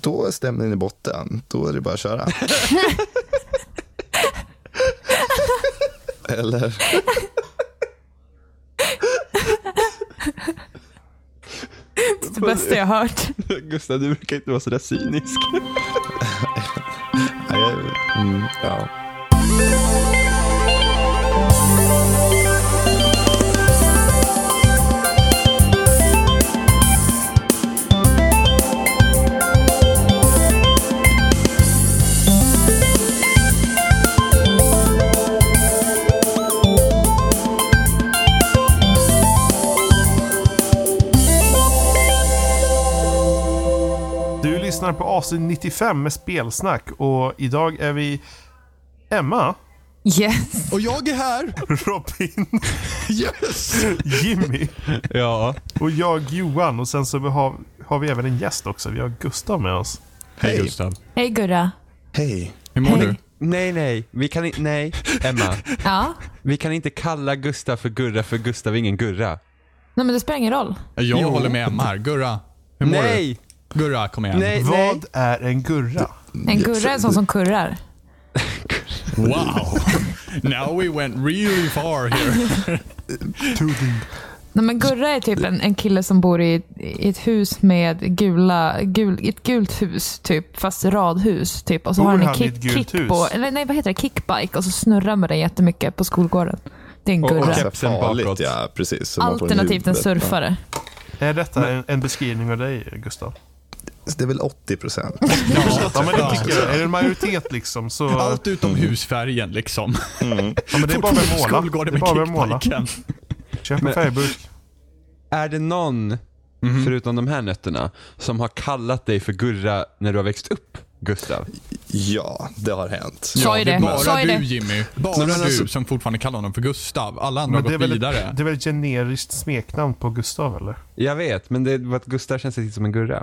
då är stämningen i botten. Då är det bara att köra. Eller? Det är det bästa jag hört. Gustav, du brukar inte vara sådär cynisk. Nej, jag- Mm, ja. Du lyssnar på avsnitt 95 med Spelsnack och idag är vi Emma, Yes. Och jag är här! Robin, Yes! Jimmy Ja. och jag Johan och sen så har, har vi även en gäst också. Vi har Gustav med oss. Hej Hej. Gustav. Hej Gurra. Hej. Hur mår Hej. du? Nej, nej. Vi kan inte, nej. Emma. Ja. Vi kan inte kalla Gustav för Gurra för Gustav är ingen Gurra. Nej men det spelar ingen roll. Jag håller med Emma här. Gurra, hur mår Nej! du? Gurra, kom igen. Nej, nej. Vad är en gurra? En gurra är en sån som kurrar. Wow! Now we went really far here. Nej men gurra är typ en, en kille som bor i, i ett hus med gula, gul, i ett gult hus typ, fast radhus typ. Och så Bor har han en han i kick, ett gult hus? kickbo, eller nej vad heter det, kickbike och så snurrar med den jättemycket på skolgården. Det är en Och- och gurra. kepsen bakåt. ja. Precis. så man får den i Alternativt en huvudet. surfare. Är detta en, en beskrivning av dig, Gustav? Det är väl 80 procent. Ja, men det tycker jag. Är det en majoritet liksom så... Allt utom husfärgen liksom. Ja, men det är bara att börja måla. Skolgården Det är med bara att börja måla. kickbiken. Köp en Men- färgburk. Är det någon, Mhm. förutom de här nötterna, som har kallat dig för Gurra när du har växt upp, Gustav? Ja, det har hänt. Sa ju det är det. Sa bara ju du det. Jimmy. Nej, Bara men alltså- du som fortfarande kallar honom för Gustav. Alla andra har Men det är gått väl vidare. ett, det är väl ett generiskt smeknamn på Gustav eller? Jag vet, men det var att Gustav känns lite som en Gurra.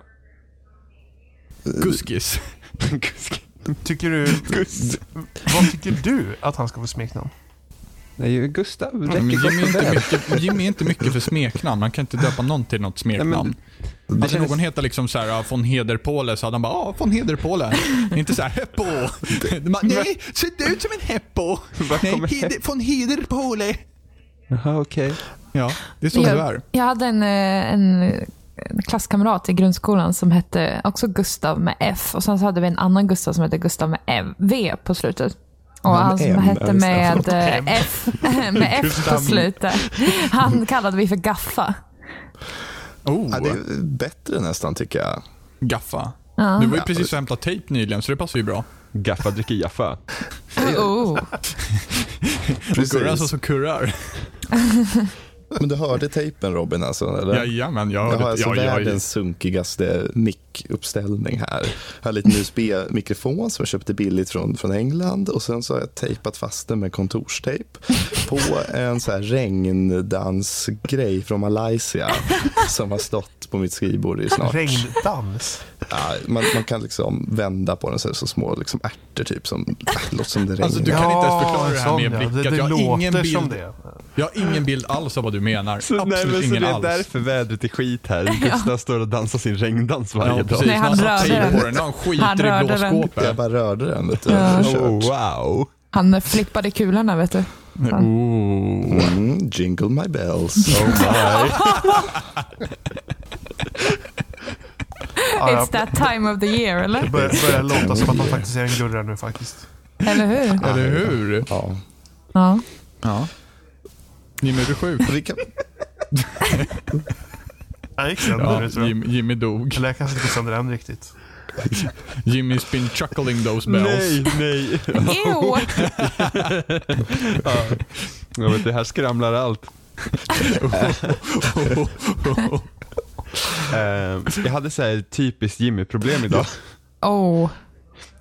Guskis. Gusk- Tycker du... Gust- Vad tycker du att han ska få smeknamn? Nej, Gustav Mm, Men räcker Jimmy, är gott och inte väl. mycket, Jimmy är inte mycket för smeknamn. Han kan inte döpa någon till något smeknamn. Hade kändes- någon hetat liksom så här, "Ah, von Hederpåle så hade han bara ah, von Hederpåle. inte så här heppo. Man, Nej, ser du ut som en heppo? Nej, kommer Heder, von Hederpåle. Jaha, okej. Ja, det är så du Jag, är. jag hade en, eh, en en klasskamrat i grundskolan som hette också Gustav med F. Och Sen så hade vi en annan Gustav som hette Gustav med M, V på slutet. Och Ja, med han som M, ja, hette just det. med eh, F, med F på Gustav. slutet. Han kallade vi för Gaffa. Ja, Oh, det är bättre nästan tycker jag. gaffa. Du var ju precis och hämtade tejp nyligen så det passar ju bra. Gaffa dricker Jaffa. Oh. Och Gurra som så kurrar. Men du hörde tejpen Robin alltså? Eller? Jajamän, Jag jag har hörde alltså ja, jag- världens sunkigaste mickuppställning här. Jag har liten USB-mikrofon som jag köpte billigt från, från England och sen så har jag tejpat fast den med kontorstejp på en så här regndansgrej från Malaysia som har stått på mitt skrivbord i snart. Regndans? Ja, man, man kan liksom vända på den så, här, så små liksom ärtor typ som låter som det regnar. Alltså, du kan- inte ens förklara det här sån, med ja. blickat. Det, det Jag har låter ingen bild. som det. Jag har ingen bild alls av vad du menar. Så, nej, men Absolut så ingen det är alls. därför vädret är skit här. Gustav står och dansar sin regndans varje Ja, dag. precis. Nej, han han rörde satt tejp den. på den. Han Han skiter i rörde blå den. jag skåpet. bara rörde den. Vet du. Ja. Kört. Oh, wow. Han flippade kulorna, vet du. Oh. Mm, jingle my bells. Ja, ja. It's that time of the year, Det eller? börjar, börjar låta som att han faktiskt är en gurra nu faktiskt. Eller hur? Eller hur? Ja. Ja. Ja. Jimmy, är du sjuk? Vi kan, Jag gick sönder Ja, nu tror jag. Jimmy, Jimmy dog. Eller jag kanske inte gick sönder än riktigt. Jimmy's been chuckling those bells. nej. Oh. Ew! Jag vet, det här skramlar allt. Ehm, jag hade så här typiskt Jimmy-problem idag. Oh.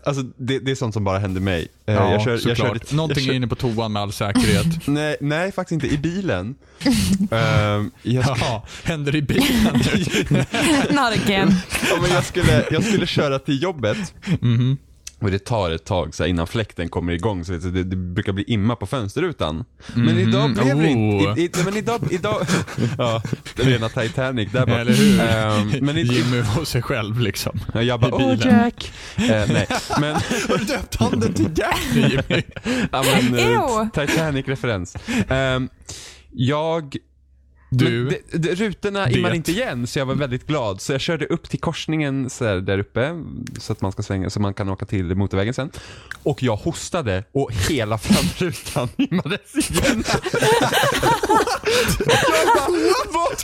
Alltså, det, det är sånt som bara händer mig. Eh, Ja, jag kör- jag såklart. körde- jag Någonting kör- är inne på toan med all säkerhet. Nej, nej, faktiskt inte. I bilen. Ehm, jag, sk- Jaha, händer i bilen. Not again. Mhm. ja, men jag, skulle, jag skulle köra till jobbet. Och det tar ett tag så här, innan fläkten kommer igång, så det, det brukar bli imma på fönsterrutan. Men idag blev det Mhm. Oh. inte... I, i, nej, men idag... idag ja, rena Titanic där bara. Eller hur? Ehm, men i, Jimmy var sig själv liksom. jag bara, i oh bilen." Jack! Eh, nej, men... Har du döpt handen till Jack Jimmy? ja, men eh, Ew. Titanic-referens. Ehm, jag... Du. Men det, det, rutorna Det. immar inte igen, så jag var väldigt glad. Så jag körde upp till korsningen så här, där uppe, så att man ska svänga, så man kan åka till motorvägen sen. Och jag hostade och hela framrutan immades igen. jag bara, vad?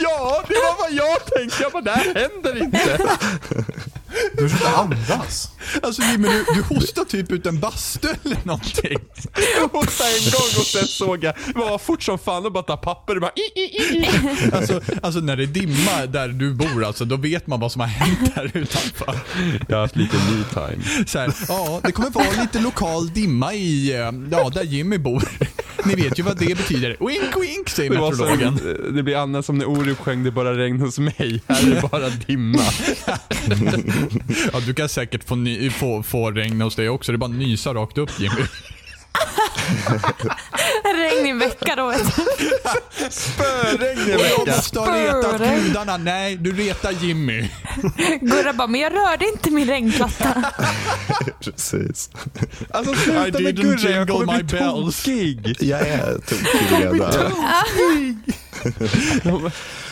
Ja, det var vad jag tänkte. Jag bara, det här händer inte. Du försöker andas. Alltså Jimmy, du, du hostar typ ut en bastu eller någonting. Jag hostade en gång och sen såg jag, det var fort som fan och bara ta papper och bara, i, i, i, i. Alltså, alltså när det är dimma där du bor, alltså, då vet man vad som har hänt där utanför. Jag har haft lite me time. Så här, ja, det kommer vara lite lokal dimma i, eh, ja, där Jimmy bor. Ni vet ju vad det betyder. Wink wink säger Det, var meteorologen. som, det blir annars som när Orup sjöng Det är bara regn hos mig, här är det bara dimma. Ja, du kan säkert få, ny, få, få regn hos dig också. Det är bara att nysa rakt upp Jimmy. Regn i vecka då. vet du. Spöregn i Och jag veckan. måste ha retat Spöregn. gudarna. Nej, du retar Jimmy. Gurra bara, men jag rörde inte min regnplatta. Precis. Alltså I sluta med didn't Gurra, jag jingle kommer my bli bells. tokig. Jag är tokig redan.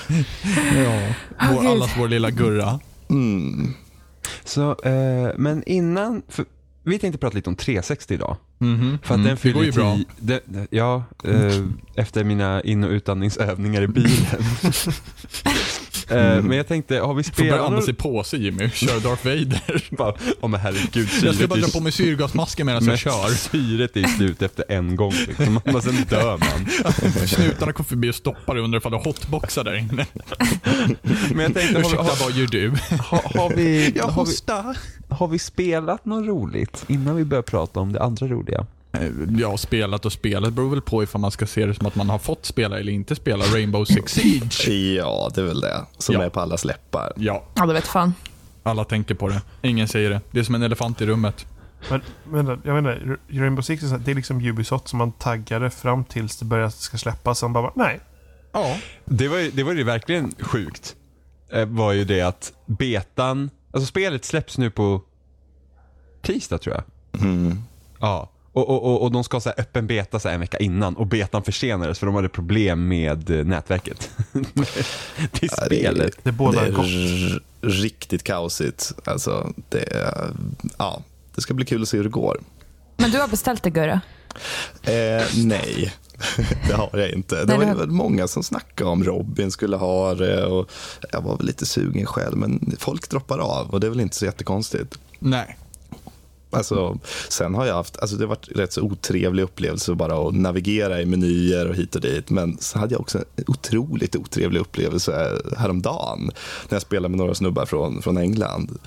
Ja, vår, Gud. allas vår lilla Gurra. Mm. Så, eh, men innan, för, vi tänkte prata lite om 360 idag. För att den Mhm. Mm, det går fyller ju bra. tio- den- den- ja, eh, efter mina in och utandningsövningar i bilen. eh, men jag tänkte, har vi Mm. Får börja spelat andas i några... påse Jimmy. Kör Darth Vader. Bara, Åh men herregud, Jag ska syret bara dra är på mig syrgasmasken medan jag men kör. syret är slut efter en gång liksom. Man, sen dör man. Snutarna kom förbi och stoppade och undrade ifall det var hotboxar där inne. Men jag tänkte, har, vi- Ursäkta, har, vad gör du? har, har, vi, har, vi, hostar. har vi spelat något roligt innan vi börjar prata om det andra roliga? Ja, spelat och spelat beror väl på ifall man ska se det som att man har fått spela eller inte spela Rainbow Six Siege. Ja, det är väl det som Ja. är på allas läppar. Ja, Ja, det vet fan. alla tänker på det. Ingen säger det. Det är som en elefant i rummet. Men, men jag menar, Rainbow Six är, så här, det är liksom Ubisoft som man taggade fram tills det började ska släppas. Sen bara, nej. Ja. Det var ju, det var ju verkligen sjukt. eh, var ju det att betan, alltså spelet släpps nu på tisdag tror jag. Mm. Ja. Och, och, och, och de ska ha så här öppen beta så här en vecka innan och betan försenades för de hade problem med eh, nätverket. Till Ja, det är- spelet. Det bådar det är gott. r- riktigt kaosigt. Alltså, det, är- ja, det ska bli kul att se hur det går. Men du har beställt det Gurra? Eh, nej, det har jag inte. Det Nej, var ju det- väl många som snackade om Robin skulle ha det och jag var väl lite sugen själv, men folk droppar av och det är väl inte så jättekonstigt. Nej. Alltså, sen har jag haft, alltså det har varit rätt så otrevlig upplevelse bara att navigera i menyer och hit och dit. Men så hade jag också en otroligt otrevlig upplevelse häromdagen när jag spelade med några snubbar från, från England.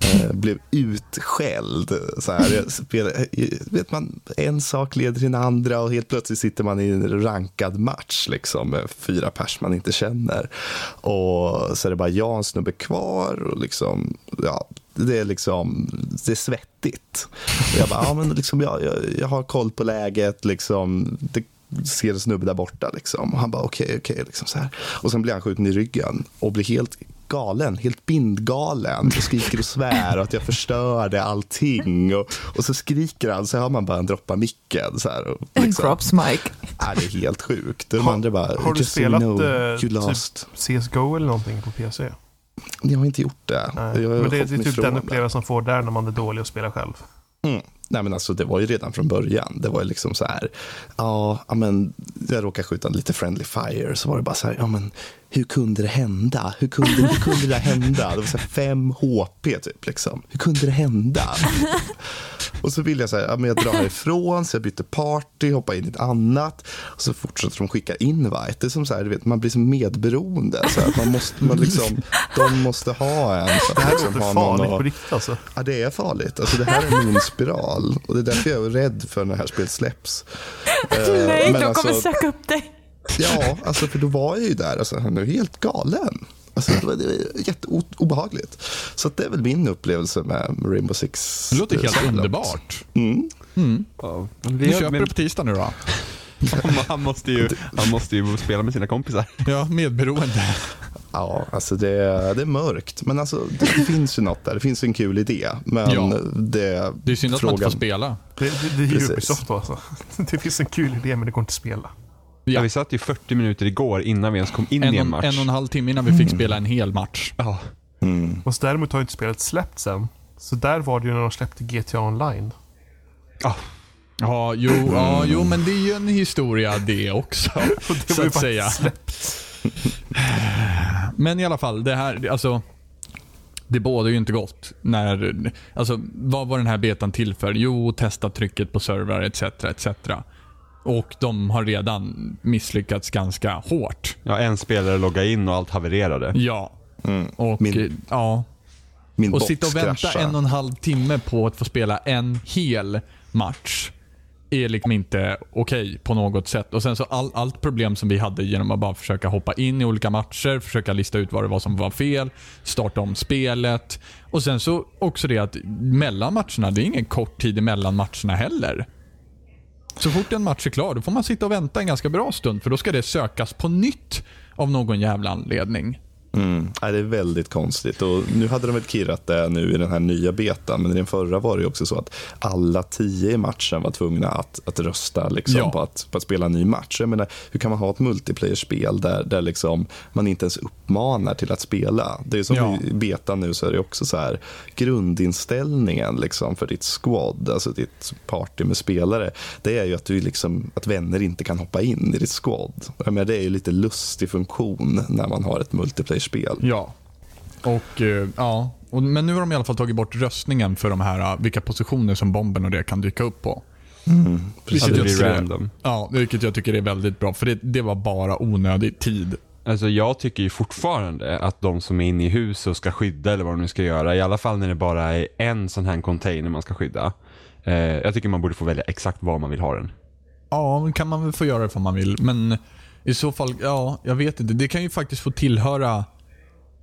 Eh, blev utskälld. Så här. Jag spelade, eh, vet man, en sak leder till den andra och helt plötsligt sitter man i en rankad match liksom, med fyra pers man inte känner. Och så är det bara jag och en snubbe kvar. Och liksom, ja, det är liksom, det är svettigt. Och jag bara, ja, men liksom, jag, jag, jag har koll på läget, liksom. Det, ser en snubbe där borta liksom. Och han bara okej, okej, liksom så här. Och sen blir han skjuten i ryggen och blir helt galen, helt bindgalen och skriker och svär och att jag förstörde allting. Och, och så skriker han, så hör man bara han droppa micken. Så här, och liksom. Crops Mike. Ja, det är helt sjukt. De Har- andra bara, har du "Just so you spelat, know, eh, you typ- lost. CSGO eller någonting på PC. Jag har inte gjort det. typ- Nej. Jag har Men det, det hållit är mig typ ifrån den det. upplevelsen man får där när man är dålig och spelar själv. Mm. Nej, men alltså, det var ju redan från början. Det var ju liksom så här, ja, ja, men jag råkade skjuta lite friendly fire, så var det bara så här, ja men hur kunde det hända? Hur kunde, hur kunde det hända? Det var så här 5 HP typ, liksom. Hur kunde det hända? Och så ville jag så här, ja, men jag drar härifrån, så jag byter party, hoppar in i ett annat. Och så fortsätter de skicka invite. Det är som så här, du vet, man blir så medberoende. Så att man måste, man liksom, de måste ha en. för att Det här liksom låter ha någon farligt att- på riktigt alltså. Ja, det är farligt. Alltså, det här är en ond spiral. Och det är därför jag är rädd för när det här spelet släpps. Eh, Nej, de kommer alltså, söka upp dig. Ja, alltså, för då var jag ju där. Alltså, han är ju helt galen. Alltså, det var, det var jätteobehagligt. Så att det är väl min upplevelse med Rainbow Six. Det låter eh, så helt här långt. underbart. Ja. Vi Vi köper det men, på tisdag nu då. han, måste ju, han måste ju spela med sina kompisar. Ja, medberoende. Ja, alltså det, det är mörkt. Men alltså, det, det finns ju något där. Det finns ju en kul idé. Men Ja. det, Det är synd att man inte får spela. Det, det, det är Precis. ju Ubisoft alltså. Det finns en kul idé men det går inte att spela. Ja. vi satt ju 40 minuter igår innan vi ens kom in En, i en en, match. Mm. en och en halv timme innan vi fick spela en hel match. ja. Och så däremot har ju inte spelet släppt sen. Så där var det ju när de släppte GTA Online. Ja. Ja, jo, ja, jo men det är ju en historia det också. Mm. Det så var ju att faktiskt säga. släppt. Men i alla fall, det här, alltså. Det bådar ju inte gott. När, alltså, vad var den här betan till för? Jo, testa trycket på servrar etc. etc. Och de har redan misslyckats ganska hårt. ja, en spelare loggade in och allt havererade. Ja. Mm. Och, Min- eh, ja. Min och box sitta och vänta kraschade. en och en halv timme på att få spela en hel match är liksom inte okej på något sätt. Och sen så all, allt problem som vi hade genom att bara försöka hoppa in i olika matcher, försöka lista ut vad det var som var fel, starta om spelet. Och sen så också det att mellan matcherna, det är ingen kort tid mellan matcherna heller. Så fort en match är klar, då får man sitta och vänta en ganska bra stund för då ska det sökas på nytt av någon jävla anledning. Nej, det är väldigt konstigt. Och nu hade de väl kirrat det nu i den här nya betan, men i den förra var det ju också så att alla tio i matchen var tvungna att, att rösta liksom, Ja. på, att, på att spela en ny match. Jag menar, hur kan man ha ett multiplayer-spel där, där liksom man inte ens uppmanar till att spela? Det är ju som Ja. i betan nu så är det också så här grundinställningen liksom, för ditt squad, alltså ditt party med spelare, det är ju att, du liksom, att vänner inte kan hoppa in i ditt squad. Jag menar, det är ju lite lustig funktion när man har ett multiplayer-spel. Ja. Och, eh, ja. Och, men nu har de i alla fall tagit bort röstningen för de här, eh, vilka positioner som bomben och det kan dyka upp på. Att Mm. det Mm. jag blir tycker är- random. Ja, vilket jag tycker är väldigt bra, för det, det var bara onödig tid. Alltså jag tycker ju fortfarande att de som är inne i hus och ska skydda eller vad de nu ska göra, i alla fall när det bara är en sån här container man ska skydda. Eh, jag tycker man borde få välja exakt var man vill ha den. Ja, men kan man väl få göra det om man vill, men i så fall, ja, jag vet inte. Det kan ju faktiskt få tillhöra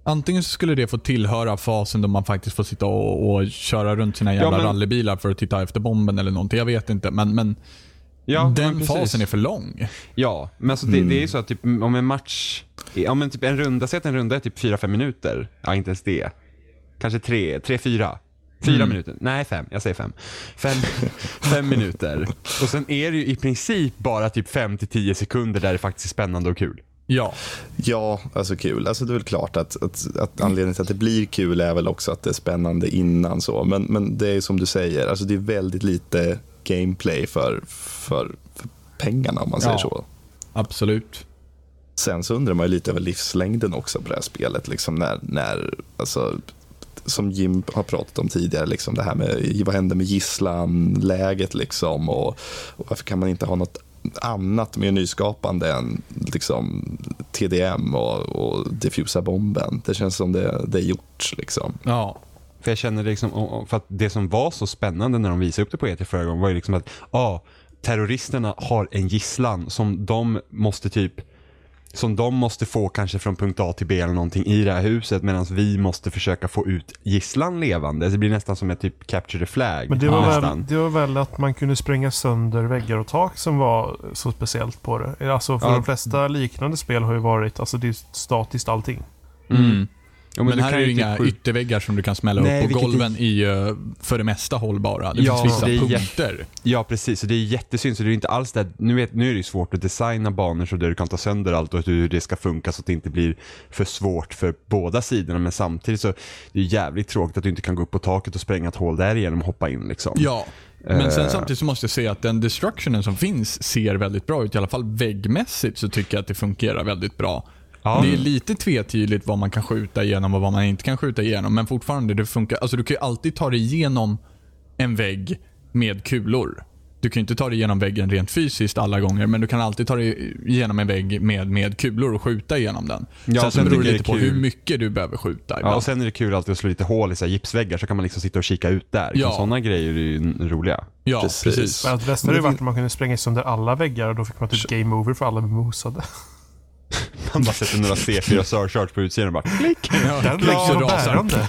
Antingen så skulle det få tillhöra fasen då man faktiskt får sitta och, och köra runt sina jävla men- rallybilar för att titta efter bomben eller någonting. Jag vet inte, men, men Ja, men den precis. fasen är för lång. Ja, men alltså det, det är ju så att typ, om en match, ja men typ en runda, säg att en runda är typ 4-5 minuter. Ja, inte ens det. Kanske 3, 3-4. 4 minuter. Nej, 5. Jag säger 5. 5 minuter. Och sen är det ju i princip bara typ 5-10 sekunder där det faktiskt är spännande och kul. Ja. Ja, alltså kul. Alltså det är väl klart att, att, att anledningen till att det blir kul är väl också att det är spännande innan. så. Men, men det är ju som du säger, alltså det är väldigt lite gameplay för, för, för pengarna om man säger Ja. så. Absolut. Sen så undrar man ju lite över livslängden också på det här spelet. Liksom när, när, alltså, som Jim har pratat om tidigare, liksom det här med vad händer med gisslanläget liksom, och, och varför kan man inte ha något annat mer nyskapande än liksom, TDM och, och diffusa bomben. Det känns som det, det är gjort. Liksom. Ja. För jag känner liksom, och- och- för att det som var så spännande när de visade upp det på E3 förra gången var ju liksom att, ja, ah, terroristerna har en gisslan som de måste typ, som de måste få kanske från punkt A till B eller någonting i det här huset medan vi måste försöka få ut gisslan levande. Det blir nästan som ett typ capture the flag. Men det var, nästan. väl, det var väl att man kunde spränga sönder väggar och tak som var så speciellt på det. Alltså för Ja. de flesta liknande spel har ju varit, alltså det är statiskt allting. Mm. Ja, Mm. Men, du här kan är ju typ inga skjuta- ytterväggar som du kan smälla Nej, upp och vilket typ- golven är ju för det mesta hållbara. Det Ja, finns vissa det är punkter. Ja precis, och det är jättesynd. Så det är inte alls det nu, vet, nu är det ju svårt att designa banor så där du kan ta sönder allt och hur det ska funka så att det inte blir för svårt för båda sidorna. Men samtidigt så är det är jävligt tråkigt att du inte kan gå upp på taket och spränga ett hål där igenom och hoppa in liksom. Ja. Men Eh. sen samtidigt så måste jag säga att den destructionen som finns ser väldigt bra ut. I alla fall väggmässigt så tycker jag att det fungerar väldigt bra. Ja. Det är lite tvetydigt vad man kan skjuta igenom och vad man inte kan skjuta igenom. Men fortfarande, det funkar. Alltså du kan ju alltid ta dig igenom en vägg med kulor. Du kan ju inte ta dig igenom väggen rent fysiskt alla gånger, men du kan alltid ta dig igenom en vägg med, med kulor och skjuta igenom den. Ja, sen så sen beror det tycker lite på jag det är hur kul. mycket du behöver skjuta. Ja, ibland. och sen är det kul alltid att slå lite hål i så här gipsväggar så kan man liksom sitta och kika ut där. Ja. Ja. Sådana grejer är ju n- roliga. ja Precis. precis. Men att bästa Men hade det ju varit att man kunde spränga sönder alla väggar och då fick man typ game over för alla blev mosade. Man bara sätter några C4 surcharge på utsidan och bara klick. Ja, Den la så och rasar den. bärande.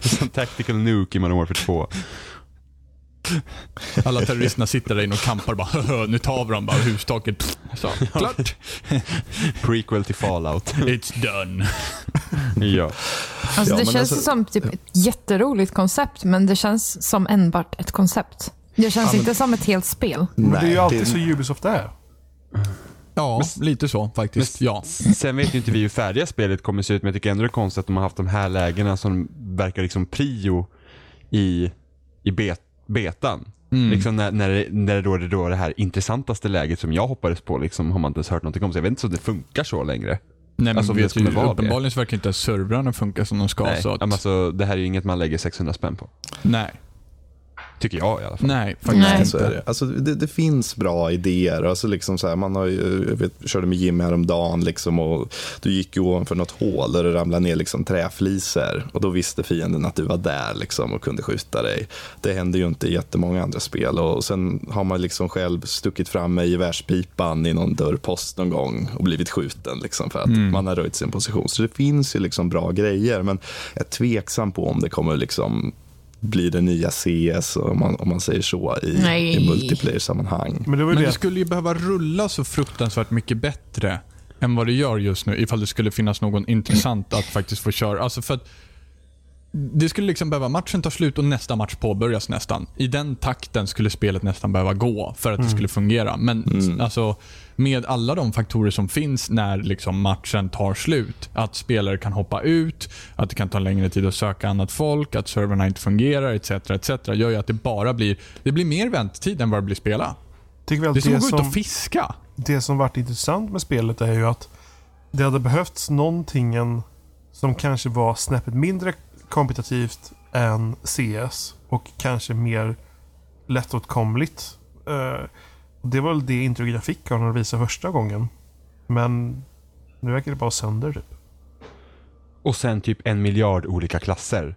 Som tactical nuke i Modern Warfare 2. Alla terroristerna sitter där inne och kampar bara "Haha, nu tar vi dem bara hustaket. Pff, Så, klart. Prequel till Fallout. It's done. ja. Alltså, Ja, det men känns alltså- ju som typ ett jätteroligt koncept, men det känns som enbart ett koncept. Det känns inte som ett helt spel. Men det är ju alltid så Ubisoft är. Ja, lite så faktiskt. Ja. Sen vet ju inte vi hur färdiga spelet kommer se ut, men jag tycker ändå det är konstigt att de har haft de här lägena som verkar liksom prio i, i bet, betan. Mm. Liksom när, när, det, när det då är det, då det här intressantaste läget som jag hoppades på, liksom, har man inte ens hört någonting om. Så jag vet inte om det funkar så längre. Nej, men Alltså, om det vet skulle ju, vara det. uppenbarligen så verkar inte ens servrarna funka som de ska. Nej, Så att, men alltså, det här är ju inget man lägger 600 spänn på. nej, Tycker jag i alla fall. nej, faktiskt Nej. inte. Så är det. Alltså, det, det finns bra idéer. Alltså, liksom så här, man har ju, jag vet, körde med Jimmy häromdagen liksom, och du gick ju ovanför något hål och det ramlade ner liksom, träfliser. Och då visste fienden att du var där liksom, och kunde skjuta dig. Det händer ju inte i jättemånga andra spel. Och Sen har man liksom själv stuckit fram med gevärspipan i någon dörrpost någon gång och blivit skjuten liksom, för att man har röjt sin position. Så det finns ju liksom bra grejer, men jag är tveksam på om det kommer liksom blir det nya CS, om man, om man säger så, i, Nej. i multiplayer-sammanhang. Men det var ju Men det det. skulle ju behöva rulla så fruktansvärt mycket bättre än vad det gör just nu ifall det skulle finnas någon intressant att faktiskt få köra. Alltså för att det skulle liksom behöva matchen ta slut och nästa match påbörjas nästan. I den takten skulle spelet nästan behöva gå för att det skulle fungera. Men alltså med alla de faktorer som finns när liksom matchen tar slut. Att spelare kan hoppa ut, att det kan ta längre tid att söka annat folk, att servrarna inte fungerar etc. etc. gör ju att det bara blir, det blir mer väntetid än vad det blir spela. Tycker väl Det är att det som att gå ut som, och fiska. det som varit intressant med spelet är ju att det hade behövts någonting som kanske var snäppet mindre kompetitivt än CS och kanske mer lättåtkomligt. Eh, det var väl det intrycket jag fick av när de visade första gången. Men nu verkar det bara sönder typ. Och sen typ en miljard olika klasser.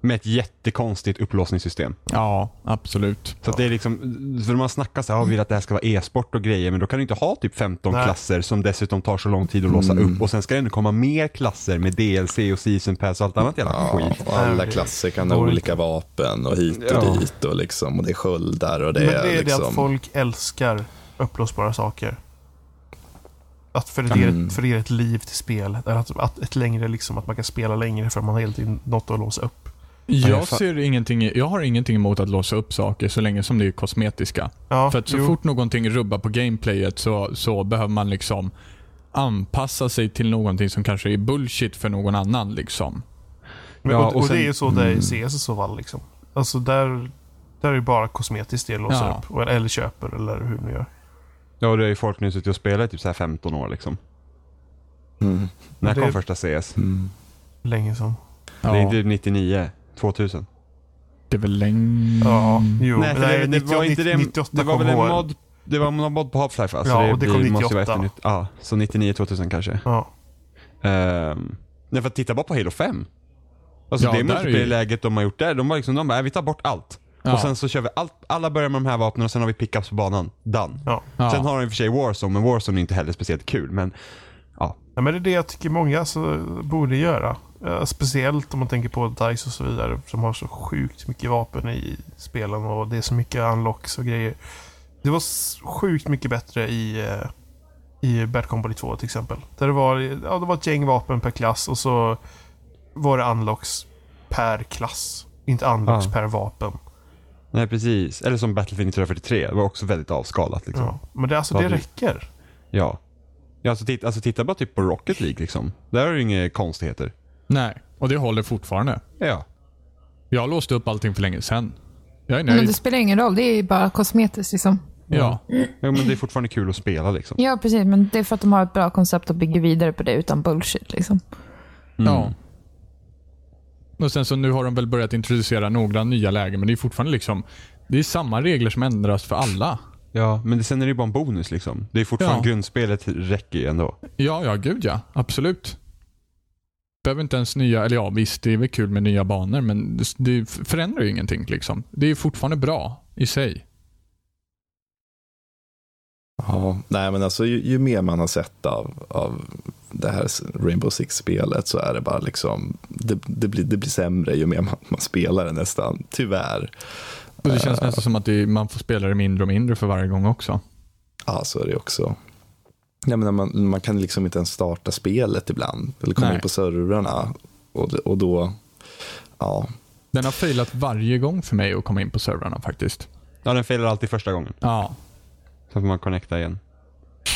Med ett jättekonstigt upplåsningssystem. Ja, absolut. Så att det är liksom, för man snackar så här, "Ah, vi vill att det här ska vara e-sport och grejer, men då kan du inte ha typ 15 Nej. klasser som dessutom tar så lång tid att låsa upp och sen ska det ändå komma mer klasser med DLC och season pass och allt annat jävla skit. Och alla klasser kan ha olika vapen och hit och Ja. dit och, liksom, och det är sköldar och det, Men det är liksom... det att folk älskar uppblåsbara saker. Att för det, ger Mm. ett, för det ger ett liv till spelet. Eller Att, att, ett längre, liksom, att man kan spela längre för man har hela tiden något att låsa upp. Jag, ser ingenting, i- jag har ingenting emot att låsa upp saker så länge som det är kosmetiska. Ja, För att så jo. fort någonting rubbar på gameplayet så, så behöver man liksom anpassa sig till någonting som kanske är bullshit för någon annan. Liksom. Men, Ja, och, och, och sen- det är ju så där Mm. i CS och så vall. Liksom. Alltså där, där är det bara kosmetiskt det låser Ja. upp. Och- Eller köper eller hur man gör. Ja, och det är ju folk nu suttit och spelar i typ så här 15 år liksom. Mm. När Det- kom första CS? Mm. Länge sedan. Ja, Det är typ 99, 2000. det är väl länge... Ja, jo. Nej, men för det, det, 90 var inte det, 98 det var väl kom en HL. mod, det var en mod på Half-Life va? Så Ja, och det kom blir- måste ju vara 98. efter nytt- Ja, så 99, 2000 kanske. Ja. Um, nej, för att titta bara på Halo 5. Alltså Ja, det där är ju- multiplayer-läget de har gjort där, de var liksom, de bara, "Äh, vi tar bort allt. Ja. Och sen så kör vi allt, alla börjar med de här vapnen och sen har vi pickups på banan. Done. Ja. Ja. Sen har de i och för sig Warzone, men Warzone är inte heller speciellt kul. Men ja, Ja, men det är det jag tycker många alltså, borde göra. Eh, Speciellt om man tänker på DICE och så vidare som har så sjukt mycket vapen i spelen och det är så mycket unlocks och grejer. Det var s- sjukt mycket bättre i, eh, i Bad Company 2 till exempel. Där det var, ja, det var ett gäng vapen per klass och så var det unlocks per klass. Inte unlocks Ja. per vapen. nej precis. Eller som Battlefield 1943, det var också väldigt avskalat liksom. Ja. Men det, alltså, Ja, det det- räcker. Ja. ja alltså, titta, alltså titta bara typ på Rocket League liksom. Där har du inga konstigheter. Nej, och det håller fortfarande. Ja. Jag låste upp allting för länge sedan. Jag är Men nöjd. det spelar ingen roll, det är ju bara kosmetiskt. Liksom. Ja. ja, men det är fortfarande kul att spela liksom. Ja, precis. Men det är för att de har ett bra koncept och bygger vidare på det utan bullshit. Liksom. Mm. Ja. Och sen så nu har de väl börjat introducera några nya lägen, men det är fortfarande liksom... Det är samma regler som ändras för alla. Ja, men det, sen är det ju bara en bonus liksom. Det är fortfarande Ja. grundspelet räcker ju ändå. Ja, ja, gud ja. Absolut. Behöver inte ens nya, eller ja visst det är väl kul med nya banor men det- det f- förändrar ju ingenting liksom. Det är fortfarande bra i sig. Ja, nej men alltså ju, ju mer man har sett av, av det här Rainbow Six-spelet så är det bara liksom, det, det, blir, det blir sämre ju mer man, man spelar det nästan, tyvärr. Och det känns nästan som att det, man får spela det mindre och mindre för varje gång också. Ja, så är det ju också. Jag menar, man, man kan liksom inte ens starta spelet ibland, eller komma Nej. in på servrarna. Och, och då, ja, Den har failat varje gång för mig att komma in på servrarna faktiskt. Ja, den failar alltid första gången. Ja. Så får man connecta igen.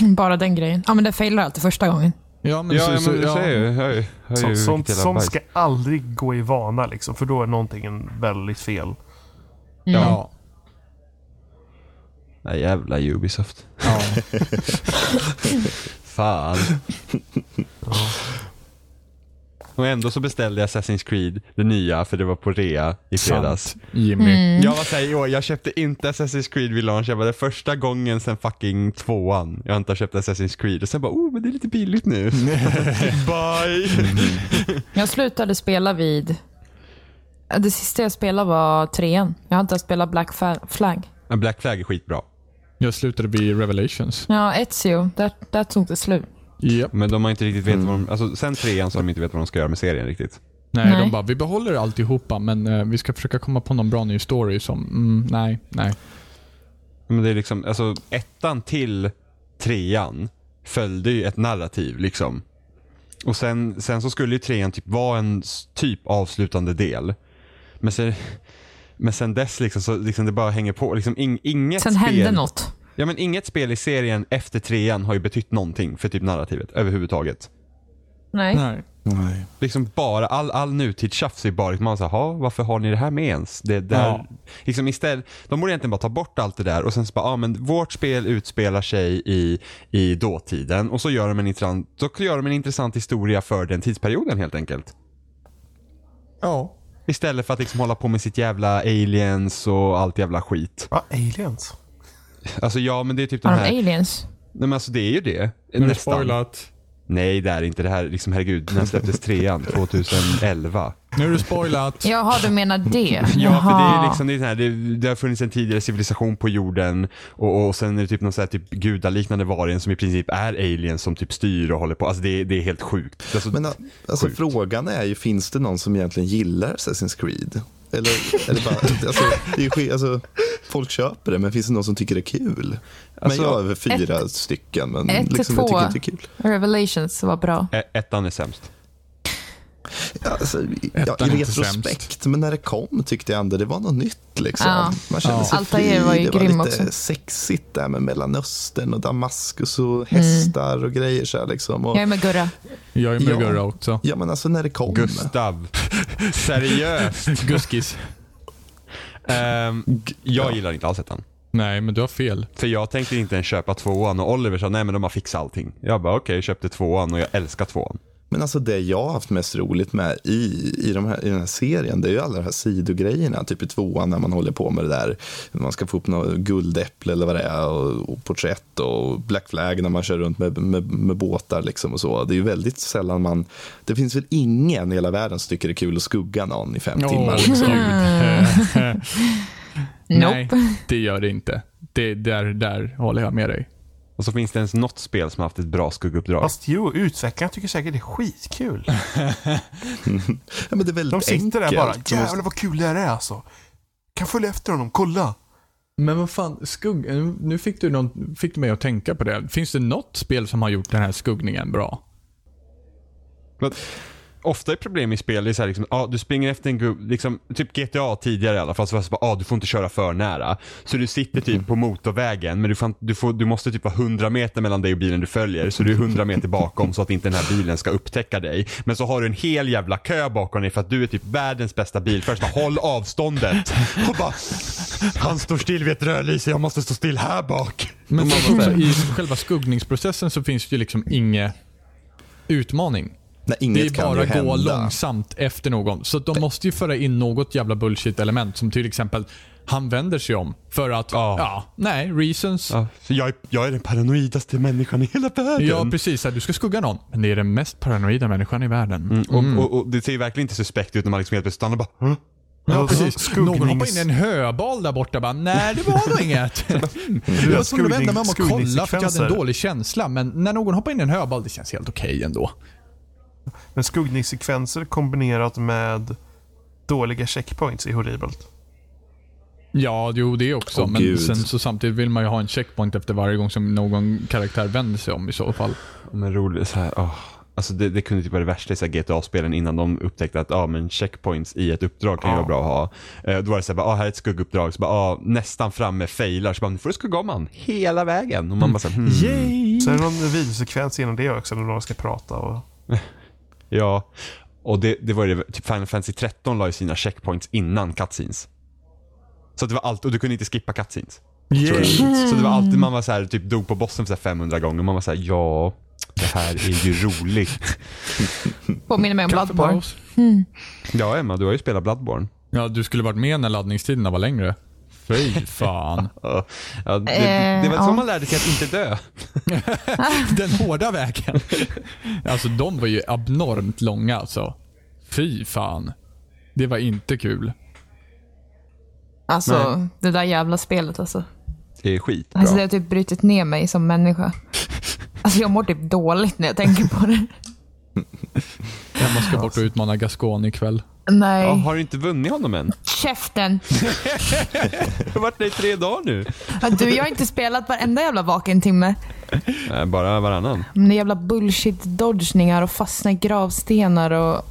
Bara den grejen. Ja, men det failar alltid första gången. Ja, men, Ja, så, men så, du ja. ser ju. Hör ju, hör ju Som, som, vilket jävla som bajs. ska aldrig gå i vana liksom, för då är någonting en väldigt fel. Mm. Ja. Nej, jävla Ubisoft. ja. Fan. Och ändå så beställde jag Assassin's Creed, det nya, för det var på rea i fredags. Sant. Jimmy. Mm. Jag var såhär, "Jo, jag köpte inte Assassin's Creed vid launch. Jag bara, det är första gången sen fucking tvåan jag inte har köpt Assassin's Creed. Och sen bara, oh men det är lite billigt nu. Bye! Jag slutade spela vid... Det sista jag spelade var trean. Jag har inte ens spelat Black Fa- Flag. Men Black Flag är skitbra. Jag slutade vid Revelations. Ja, Ezio. Där, där tog det slut. Japp. Men de har inte riktigt vetat vad de, alltså sen trean så har de inte vetat vad de ska göra med serien riktigt. Nej, Nej. de bara, vi behåller alltihopa men eh, vi ska försöka komma på någon bra ny story som, mm, nej, nej. Men det är liksom, alltså ettan till trean följde ju ett narrativ liksom. Och sen, sen så skulle ju trean typ vara en s- typ avslutande del. Men sen, men sen dess liksom, så liksom det bara hänger på. Liksom ing, inget Sen spel, hände något. Ja men inget spel i serien efter trean har ju betytt någonting för typ narrativet överhuvudtaget. Nej. nej. nej. Liksom bara, all, all nutidstjafs är bara liksom, man säger, "Ha, varför har ni det här med ens? Det där, Ja. liksom istället, de borde egentligen bara ta bort allt det där och sen så bara, ah, men vårt spel utspelar sig i, i dåtiden och så gör de en intressant, så gör de en intressant historia för den tidsperioden helt enkelt. Ja. Istället för att liksom hålla på med sitt jävla aliens och allt jävla skit. Va? Aliens? Alltså ja, men det är typ de Har de här... aliens? Nej men alltså det är ju det. Men det är nästan. spoilat. Nej, det är inte det här. Liksom, herregud, när släpptes trean? 2011. Nu är det spoilat. Jaha, du menar det? Ja, för det är Jaha. ju liksom, det, är den här, det, det har funnits en tidigare civilisation på jorden och, och sen är det typ någon så här typ gudaliknande varelse som i princip är aliens som typ styr och håller på. Alltså det, är- det är helt sjukt. Alltså, Men alltså, sjukt. frågan är ju, finns det någon som egentligen gillar Assassin's Creed? Eller, eller bara, alltså, det är, ju sk- alltså, folk köper det, men finns det någon som tycker det är kul? Alltså, men jag är över fyra stycken, men ett till liksom, jag tycker två. inte det är kul. Revelations var bra. Ä- Ettan är sämst. Ja, Alltså, ja, Ettan I är inte retrospekt, men när det kom tyckte jag ändå det var något nytt. Liksom. Ja. Man kände Ja. sig Altair fri. var ju det var grym lite också. sexigt där med Mellanöstern och Damaskus Mm. och hästar och grejer. Så här, liksom. och, Jag är med Gurra. Jag är med Ja. Gurra också. ja, men alltså när det kom. Gustav. Seriöst. Guskis. Ehm, jag gillar inte alls ettan. Nej, men du har fel. För jag tänkte inte ens köpa tvåan och Oliver sa nej men de har fixat allting. Jag bara okej, köpte tvåan och jag älskar tvåan. Men alltså det jag har haft mest roligt med i, i, de här, i den här serien, det är ju alla de här sidogrejerna. Typ i tvåan när man håller på med det där, man ska få upp något guldäpple eller vad det är, och, och porträtt och black flag när man kör runt med, med, med båtar liksom och så. Det är ju väldigt sällan man, det finns väl ingen i hela världen som tycker det är kul att skugga någon i fem timmar. Liksom. gud. Nej, Nope. det gör det inte. Det, där, där håller jag med dig. Och så finns det ens något spel som har haft ett bra skugguppdrag. Fast jo, utvecklarna tycker säkert det är skitkul. Ja, men det är väldigt De sitter enkelt. där bara. De måste- Jävlar vad kul det här är alltså. Kan följa efter honom, kolla. Men vad fan, skugg... eh, Nu fick du, någon, fick du mig att tänka på det. Finns det något spel som har gjort den här skuggningen bra? Men, ofta är problem i spel, det är så här liksom, ah, du springer efter en gubbe, liksom, typ GTA tidigare i alla fall, så var det så bara, ah, du får inte köra för nära. Så du sitter typ på motorvägen, men du, fan, du, får, du måste typ vara 100 meter mellan dig och bilen du följer, så du är 100 meter bakom så att inte den här bilen ska upptäcka dig. Men så har du en hel jävla kö bakom dig för att du är typ världens bästa bil. Först bara, håll avståndet. Och bara, han står still vid ett rödlyse, jag måste stå still här bak. Men Och man så, bara så här, i själva skuggningsprocessen så finns det ju liksom ingen utmaning. Nej, Det inget är bara kan ju gå hända. långsamt efter någon. Så de måste ju föra in något jävla bullshit-element. Som till exempel, han vänder sig om för att, Ja. ja, nej, reasons. ja, för jag, är- jag är den paranoidaste människan i hela världen. Ja, precis. här, Du ska skugga någon. Men det är den mest paranoida människan i världen. Mm. Och, och, och det ser ju verkligen inte suspekt ut när man liksom helt plötsligt stannar och bara "Hä? Ja, Alltså, precis. skuggnings- Någon hoppade in i en höbal där borta bara, nej det var nog inget. Mm. jag skulle skuggning- vända mig om och kolla för jag hade en skuggningssekvenser. dålig känsla. Men när någon hoppar in i en höbal, det känns helt okej ändå. Men skuggningssekvenser kombinerat med dåliga checkpoints är horribelt. Ja, jo det också. Åh, men gud. sen så samtidigt vill man ju ha en checkpoint efter varje gång som någon karaktär vänder sig om i så fall. Men roligt, så här, åh. Alltså det, det kunde typ vara det värsta i så här GTA-spelen innan de upptäckte att ah, men checkpoints i ett uppdrag kan ju vara bra att ha. Eh, då var det så här, bara, ah, här är ett skugguppdrag, så bara, ah, nästan framme failar, så bara, nu får du skugga om han hela vägen. Och man bara så här, hmm, Yay! Sen är det någon videosekvens innan det också när några ska prata. Och... ja. Och det, det var ju det, typ Final Fantasy 13 la ju sina checkpoints innan cutscenes. Så att det var allt, och du kunde inte skippa cutscenes. Så det var alltid man var så här, typ dog på bossen för så här 500 gånger, man var så här, ja, det här är ju roligt. Påminner mig om Bloodborne. Kaffepaus. Ja, Emma, du har ju spelat Bloodborne. Ja, du skulle varit med när laddningstiderna var längre. Fy fan. Ja, ja, det, Eh, det var så ja. man lärde sig att inte dö. Den hårda vägen. Alltså de var ju abnormt långa alltså. Fy fan. Det var inte kul. Alltså, det där jävla spelet alltså. Det är skit. Alltså det har typ brutit ner mig som människa. Alltså jag mår typ dåligt när jag tänker på det. Emma ska bort och utmana Gascon ikväll. Nej. Ja, har du inte vunnit honom än? Käften! Jag har varit där i tre dagar nu. Ja, Du, jag har inte spelat varenda jävla vaken timme. Nej, Eh, bara varannan. Men det är jävla bullshit-dodgningar och fastna i gravstenar och...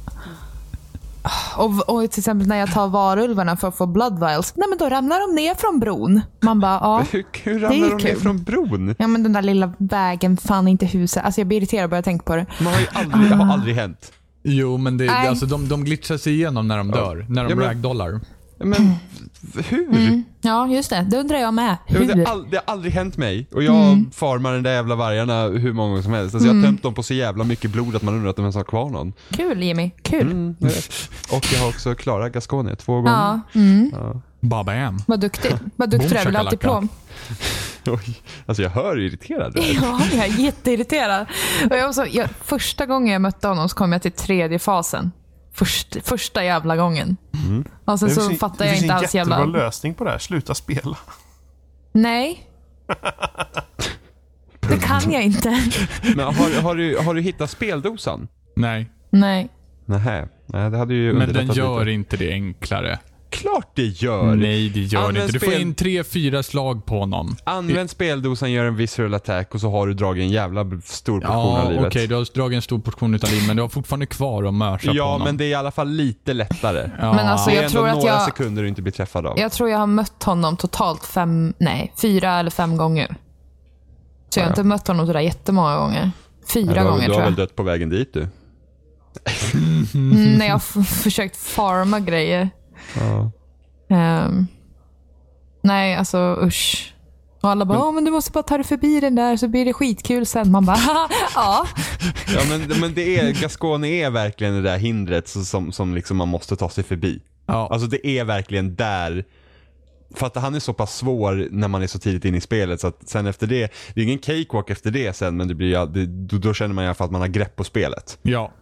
Och, och till exempel när jag tar varulvarna för att få blood vials. Nej men då ramlar de ner från bron. Man bara, ja. Hur, hur Det är ramlar de ner kul. från bron? Ja men den där lilla vägen, fan inte huset. Alltså jag blir irriterad bara jag tänker på det. Man har ju aldrig, det Ah. har aldrig hänt. Jo, men det, Nej. alltså, de, de glitchar sig igenom när de dör. När de Ja, men- ragdollar. Men hur? Ja just det, det undrar jag med. Jag Mm, vet, Hur? Mm. det, har all, det har aldrig hänt mig. Och jag farmar den där jävla vargarna hur många gånger som helst. Alltså, jag har tömt dem på så jävla mycket blod att man undrar att de ens har kvar någon. Kul Jimmy, kul. Jag vet. Och jag har också klarat Gasconia två gånger. Mm. Ja, mm. Babam. vad duktig. Vad duktig du är, vill du ha ett shakalaka. diplom? Oj. Alltså jag hör hur irriterad du är. Ja, jag är jätteirriterad. Och jag var så, jag, första gången jag mötte honom så kom jag till tredje fasen. Först, första jävla gången. Mm. Och sen så fattar jag inte alls Det finns en jävla... jättebra lösning på det här. Sluta spela. Nej. Det kan jag inte. Men har, har, du, har du hittat speldosan? Nej, Nej. Nähä. Nej, det hade ju men den underlättat gör Mm. lite. inte det enklare. Klart det gör! Nej, det gör det Använd inte. Du får spel- in tre, fyra slag på honom. Använd speldosan, gör en visual attack och så har du dragit en jävla b- stor portion Ja, av okej. livet. du har dragit en stor portion utav liv, men du har fortfarande kvar att mörsa på ja, honom. men det är i alla fall lite lättare. Ja. Men alltså Det är jag ändå tror att några jag... sekunder du inte blir träffad av. Jag tror jag har mött honom totalt fem, nej, fyra eller fem gånger. Så jag har inte mött honom sådär jättemånga gånger. Fyra du har, gånger du tror har jag. väl dött på vägen dit du? Mm, när jag har f- försökt farma grejer. Ja. Ehm, nej, alltså usch. Och alla bara, "Ja, men du måste bara ta dig förbi den där så blir det skitkul sen. Man bara, "Haha, ja. Ja, men, men det är, Gascon är verkligen det där hindret som, som, som liksom man måste ta sig förbi. Ja. Alltså det är verkligen där. För att han är så pass svår när man är så tidigt inne i spelet så att sen efter det, det är ingen cakewalk efter det sen men det blir, ju aldrig- då, då känner man i alla fall att man har grepp på spelet. ja.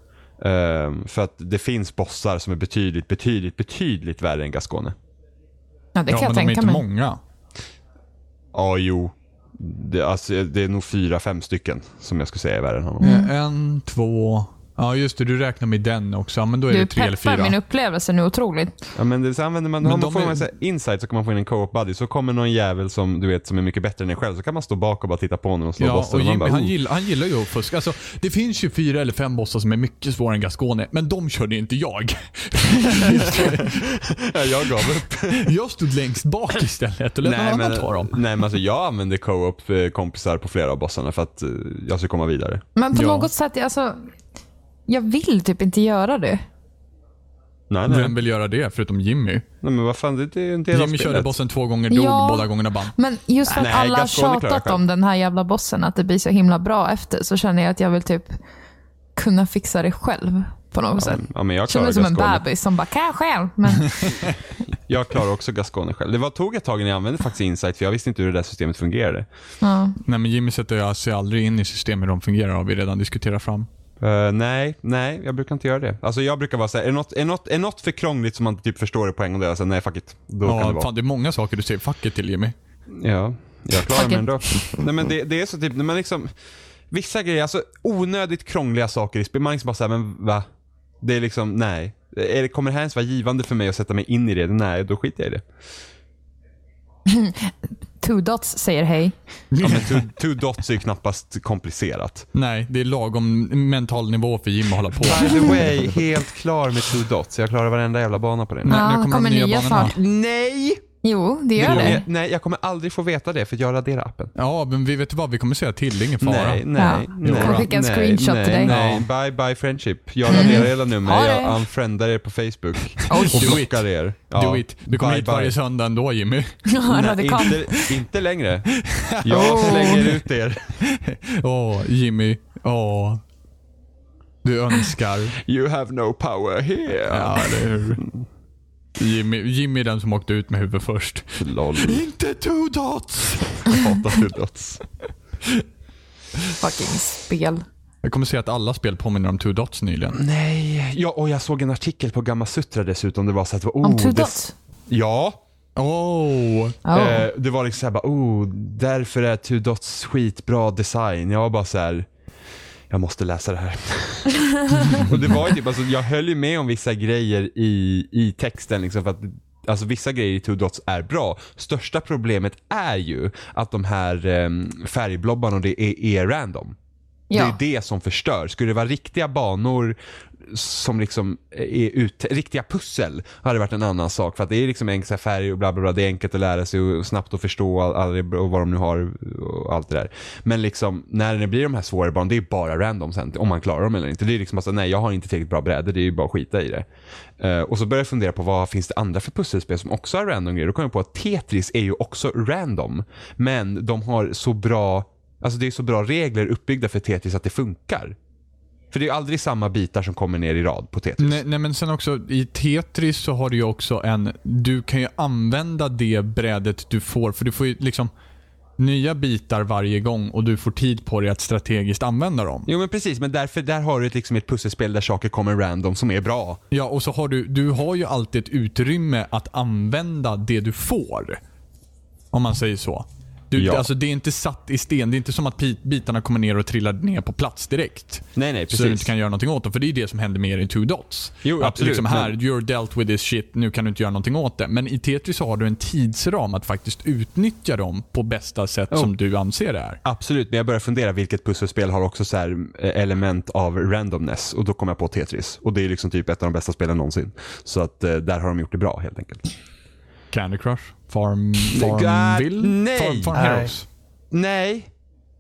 Ehm, för att det finns bossar som är betydligt, betydligt, betydligt värre än Gascone. Ja, det ja, kan jag men de är tänka inte mig. många. Ja, jo. Det, alltså, det är nog fyra, fem stycken som jag skulle säga är värre än honom. Eh, En, två... Ja, just det. Du räknar med den också. Ja, men då är Du det tre eller fyra. peppar min upplevelse nu otroligt. Ja, men det, så använder man, Men har man, de får är- man så här insight så kan man få in en co-op buddy. Så kommer någon jävel som du vet som är mycket bättre än en själv så kan man stå bak och bara titta på honom och slå Ja, bossen. och Och man Jimmy, bara, han, "Oh." gillar, han gillar ju att fuska. Alltså, det finns ju fyra eller fem bossar som är mycket svårare än Gascone, men de körde ju inte jag. Ja, "Oh, jag gav upp. Jag stod längst bak istället och lät någon annan ta dem. nej, men alltså, jag använder co-op eh, kompisar på flera av bossarna för att eh, jag ska komma vidare. Men på Ja. något sätt, alltså, jag vill typ inte göra det. Nej, nej. Vem vill göra det förutom Jimmy? nej men vad fan, det, det är ju en del av Jimmy spelet. körde bossen två gånger, dog Ja. båda gångerna vann. Men just för att Nej, alla har Gascon klarar tjatat själv. om den här jävla bossen, att det blir så himla bra efter, så känner jag att jag vill typ kunna fixa det själv på något sätt. Ja, men jag Känner klarar mig som en Gascone. bebis som bara, kan jag själv? Men Jag klarar också Gascone själv. Det var, tog ett tag innan jag använde faktiskt Insight för jag visste inte hur det där systemet fungerade. Nej, men Jimmy sätter sig aldrig in i system hur de fungerar har vi redan diskuterat fram. Eh, nej, nej, jag brukar inte göra det. Alltså jag brukar vara såhär, är något, är, något, är något för krångligt som man inte typ förstår i poäng och då är jag såhär, nej fuck it. Då kan det Ja, vara. fan det är många saker du säger fuck it till Jimmy. Ja, jag klarar Fuck mig it. ändå. Nej men det, det är så typ, när man liksom, vissa grejer, alltså onödigt krångliga saker i spel, man liksom bara såhär, men va? Det är liksom, nej. Är det, kommer det här ens vara givande för mig att sätta mig in i det? Nej, då skiter jag i det. Two dots säger hej. Ja, men two, two dots är ju knappast komplicerat. Nej, det är lagom mental nivå för Jim att hålla på. By the way, helt klar med two dots. Jag klarar varenda jävla bana på den. När- när Ja, kommer de nya banorna? snart. Nej! Jo, det Det gör kommer, det. jag, nej, jag kommer aldrig få veta det för jag raderar appen. Ja, men vi vet ju vad, vi kommer säga till, det är ingen fara. Nej, nej, Ja. nej. Jag kommer skicka en nej, screenshot nej, till dig. Nej, bye bye friendship. Jag raderar era Ha nummer, det. jag unfriendar er på Facebook. Oj, och do blockar er. Ja, Do it. Du kommer bye, hit bye. varje söndag ändå Jimmy. Ja, Nej, radikal. inte, inte längre. Jag Oh. slänger ut er. Åh, Jimmy. Åh. Du önskar. You have no power here. Ja, eller hur? Jimmy, Jimmy är den som åkte ut med huvudet först. Lol. Inte two dots! Jag hatar two dots. Fucking spel. Jag kommer säga att alla spel påminner om two dots nyligen. Nej. Ja, och jag såg en artikel på Gamma Sutra dessutom. Det var så att det var, oh, Om two det- dots? Ja. Oh. Ja. Eh, det var liksom såhär bara, oh, därför är Two Dots skitbra design. Jag var bara såhär, jag måste läsa det här. och det var ju typ, alltså, jag höll ju med om vissa grejer i, i texten liksom för att Alltså vissa grejer i Two Dots är bra. Största problemet är ju att de här um, färgblobbarna och det är, är random. ja. Det är det som förstör. Skulle det vara riktiga banor som liksom är ut, riktiga pussel hade det varit en annan sak. För att det är liksom enkla färger och bla bla bla. Det är enkelt att lära sig och snabbt att förstå all, all, och vad de nu har och allt det där. Men liksom när det blir de här svårare banorna, det är bara random sen. Om man klarar dem eller inte. Det är liksom alltså, nej jag har inte tillräckligt bra brädor, det är ju bara att skita i det. Eh, och så började jag fundera på vad finns det andra för pusselspel som också har random grejer. Då kom jag på att Tetris är ju också random. Men de har så bra Alltså det är så bra regler uppbyggda för Tetris att det funkar. För det är ju aldrig samma bitar som kommer ner i rad på Tetris. Nej, nej men sen också i Tetris så har du ju också en... Du kan ju använda det brädet du får. För du får ju liksom nya bitar varje gång och du får tid på dig att strategiskt använda dem. Jo men precis, men därför, där har du ett, liksom ett pusselspel där saker kommer random som är bra. Ja, och så har du, du har ju alltid ett utrymme att använda det du får. Om man säger så. Du, Ja. alltså, det är inte satt i sten. Det är inte som att pi- bitarna kommer ner och trillar ner på plats direkt. Nej, nej, Så du precis. inte kan göra någonting åt det. För det är ju det som händer med er i Two Dots. Jo, att absolut, Liksom här, men- you're dealt with this shit, nu kan du inte göra någonting åt det. Men i Tetris så har du en tidsram att faktiskt utnyttja dem på bästa sätt Oh. som du anser det är. Absolut, men jag börjar fundera vilket pusselspel har också så här eh, element av randomness och då kom jag på Tetris. Och det är liksom typ ett av de bästa spelen någonsin. Så att eh, där har de gjort det bra helt enkelt. Candy Crush? Farm... God, Farmville? nej! Farm, farm Nej. Heroes? Nej,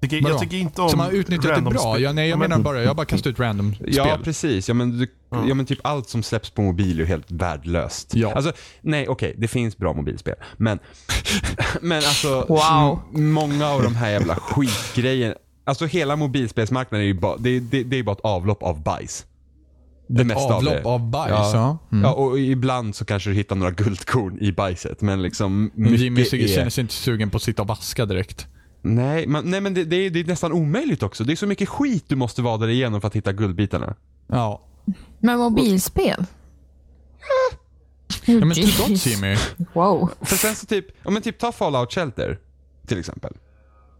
Tycker, Vadå? jag tycker inte om Som har utnyttjat det random bra. spel. Ja, nej, jag Men- menar bara, jag bara kastar ut random Ja, spel. precis. Ja men, du, ja, men typ allt som släpps på mobil är ju helt värdelöst. Ja. Alltså, nej, okej, det finns bra mobilspel. Men, men alltså, Wow. m- många av de här jävla skitgrejerna. Alltså hela mobilspelsmarknaden är ju bara, det, det, det är bara ett avlopp av bajs. Det mesta av det. avlopp av bajs, Ja. ja. Mm. ja, och ibland så kanske du hittar några guldkorn i bajset. Men liksom mycket Jimmy är... känner sig inte sugen på att sitta och vaska direkt. Nej, man, nej men det, det, är, det är nästan omöjligt också. Det är så mycket skit du måste vada igenom för att hitta guldbitarna. Ja. Men mobilspel? ja men till gott Jimmy. Wow. För sen så typ, ja men typ ta Fallout Shelter till exempel.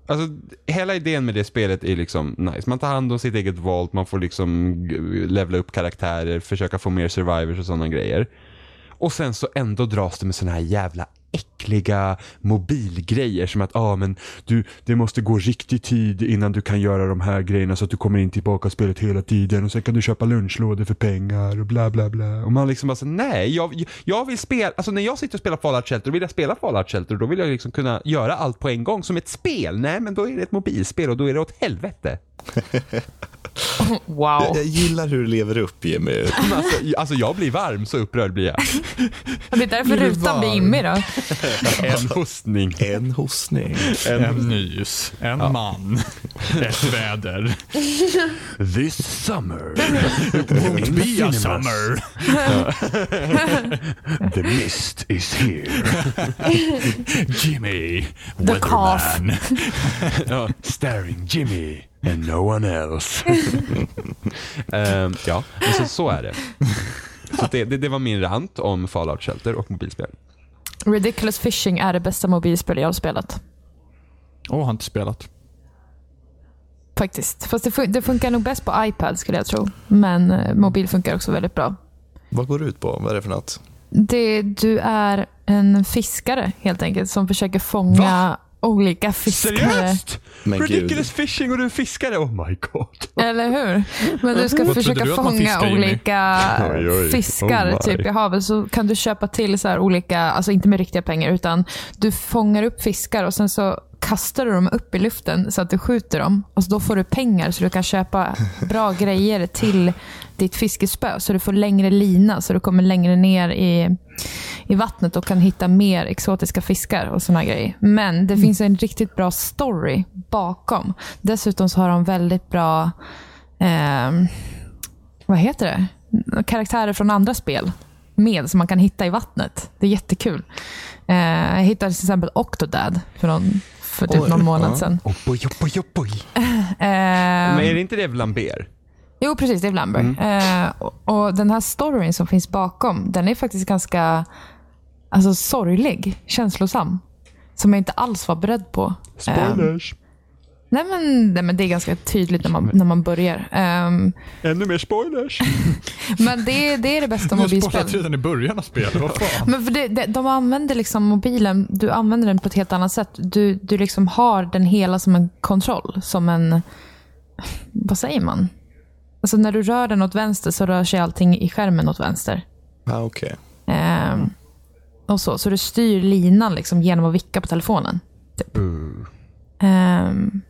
Alltså hela idén med det spelet är liksom nice. Man tar hand om sitt eget valt, man får liksom g- levla upp karaktärer, försöka få mer survivors och sådana grejer. Och sen så ändå dras det med såna här jävla äckliga mobilgrejer som att ah, men du, det måste gå riktig tid innan du kan göra de här grejerna så att du kommer in tillbaka i spelet hela tiden och sen kan du köpa lunchlådor för pengar och bla bla bla. Och man liksom bara så, nej, jag, jag vill spela, alltså när jag sitter och spelar Fallout Shelter då vill jag spela Fallout Shelter och då vill jag liksom kunna göra allt på en gång som ett spel. Nej, men då är det ett mobilspel och då är det åt helvete. Jag, Wow. jag gillar hur du lever upp, Jimmy. Men Alltså, jag- alltså jag blir varm, så upprörd blir jag. Det är därför Blir du rutan blir varm? Jimmy då. En hostning. En hostning. En nys, en man, ett väder. This summer, Won't be a summer. the mist is here. Jimmy, The weatherman. Staring Jimmy And no one else. Ehm, ja, men så, så är det. Så det, det. Det var min rant om Fallout Shelter och mobilspel. Ridiculous Fishing är det bästa mobilspel jag har spelat. Och har inte spelat. Faktiskt. Fast det, fun- det funkar nog bäst på iPad skulle jag tro. Men eh, mobil funkar också väldigt bra. Vad går det ut på? Vad är det för något? Det, du är en fiskare helt enkelt som försöker fånga olika fiskare. Seriöst? Men gud. Ridiculous fishing och du är fiskare? Oh my god. Eller hur? Men du ska Vad försöka trodde du att man fånga fiskar, Jimmy? olika Oj, oj. fiskar Oh my. typ i havet. Så kan du köpa till så här olika, alltså inte med riktiga pengar, utan du fångar upp fiskar och sen så kastar du dem upp i luften så att du skjuter dem. Och så då får du pengar så du kan köpa bra grejer till ditt fiskespö. Så du får längre lina, så du kommer längre ner i, i vattnet och kan hitta mer exotiska fiskar och såna grejer. Men Mm. det finns en riktigt bra story bakom. Dessutom så har de väldigt bra ehm, vad heter det? Karaktärer från andra spel med som man kan hitta i vattnet. Det är jättekul. Eh, jag hittade till exempel Octodad för, någon, för typ Oj, någon månad ja. sedan. Oboj, oboj, oboj. Men Eh, är det inte det Vlamber? jo, precis. Det är Blamber. Mm. Eh, och, och den här storyn som finns bakom, den är faktiskt ganska alltså, sorglig, känslosam. Som jag inte alls var beredd på. Eh, Spoilers. nej, men, nej, men det är ganska tydligt när man, när man börjar. Eh, Ännu mer spoilers. men det, det är det bästa Jag har mobilspel. spoilat redan i början av spelet. Vad fan? Men för det, det, de använder liksom mobilen, du använder den på ett helt annat sätt. Du, du liksom har den hela som en kontroll, som en... Vad säger man? Alltså när du rör den åt vänster så rör sig allting i skärmen åt vänster. Ah, Okej. Ehm, och så, så du styr linan liksom genom att vicka på telefonen. Typ. Ehm,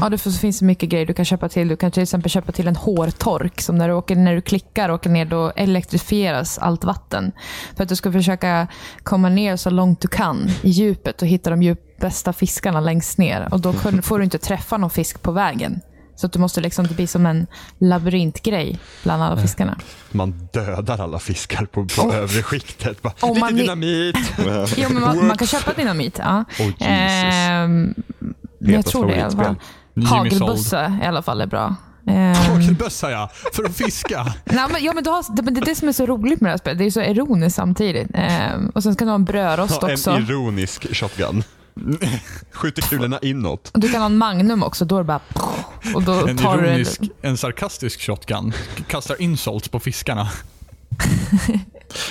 ja, det finns- finns så mycket grejer du kan köpa till. Du kan till exempel köpa till en hårtork. Som när du, åker, när du klickar och åker ner, då elektrifieras allt vatten. För att du ska försöka komma ner så långt du kan i djupet och hitta de djup, bästa fiskarna längst ner. Och Då kun- får du inte träffa någon fisk på vägen. Så att du måste liksom, det blir som en labyrintgrej bland alla fiskarna. Man dödar alla fiskar på, på övre skiktet. Bara, Om lite man vill- dynamit. Jo, men man, man kan köpa dynamit. Ja. Oh, Jesus. Ehm, jag Petas tror det i alla fall. favoritspel. Jimmy's Hagelbössa i alla fall är bra. Ehm, Hagelbössa ja, för att fiska. nej, men, ja, men du har, det, men det är det som är så roligt med det här spelet. Det är så ironiskt samtidigt. Ehm, och Sen ska du ha en brödrost Ta en också. ironisk shotgun. Skjuter kulorna inåt. Och Du kan ha en magnum också. Då är det bara... Och då En tar du ironisk, en sarkastisk shotgun. Kastar insults på fiskarna.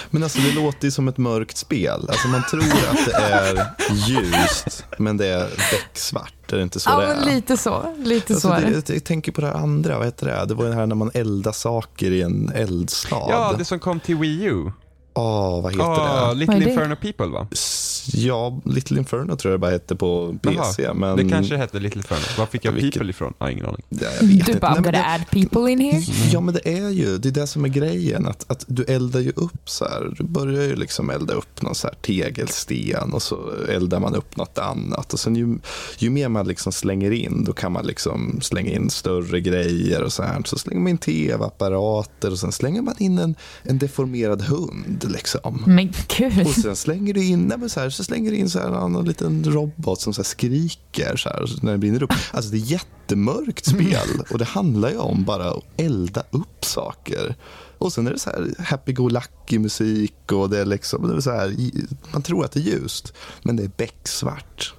Men alltså det låter ju som ett mörkt spel. Alltså man tror att det är ljust, men det är becksvart. Är det inte så Ja, det är? men lite så. Lite Alltså så är det, det. Mm, jag, jag tänker på det här andra, vad heter det? Det var ju det här när man eldar saker i en eldstad. Ja, det som kom till Wii U. Åh, vad heter Ja, det? Vad är Little det? Inferno People va? S- Ja, Little Inferno tror jag det bara hette på PC. Jaha, men... Det kanske hette Little Inferno. Var fick jag Um, Vilket- People ifrån? Ja, ingen aning. Ja, jag vet Du inte. bara, Nej, I'm men gonna det- add people in here. Mm. Ja, men det är ju det, är det som är grejen. Att, att du eldar ju upp så här. Du börjar ju liksom elda upp någon så här tegelsten och så eldar man upp något annat. Och sen ju, ju mer man liksom slänger in, då kan man liksom slänga in större grejer och så här. Så slänger man in tv-apparater och sen slänger man in en, en deformerad hund. Liksom. Men gud. Och sen slänger du in, nej men så, här, så slänger du in så här en annan liten robot som så här skriker så här, och så när det brinner upp. Alltså det är jättemörkt spel och det handlar ju om bara att elda upp saker. Och sen är det så här happy-go-lucky musik och det är liksom, det är så här, i- man tror att det är ljust men det är becksvart.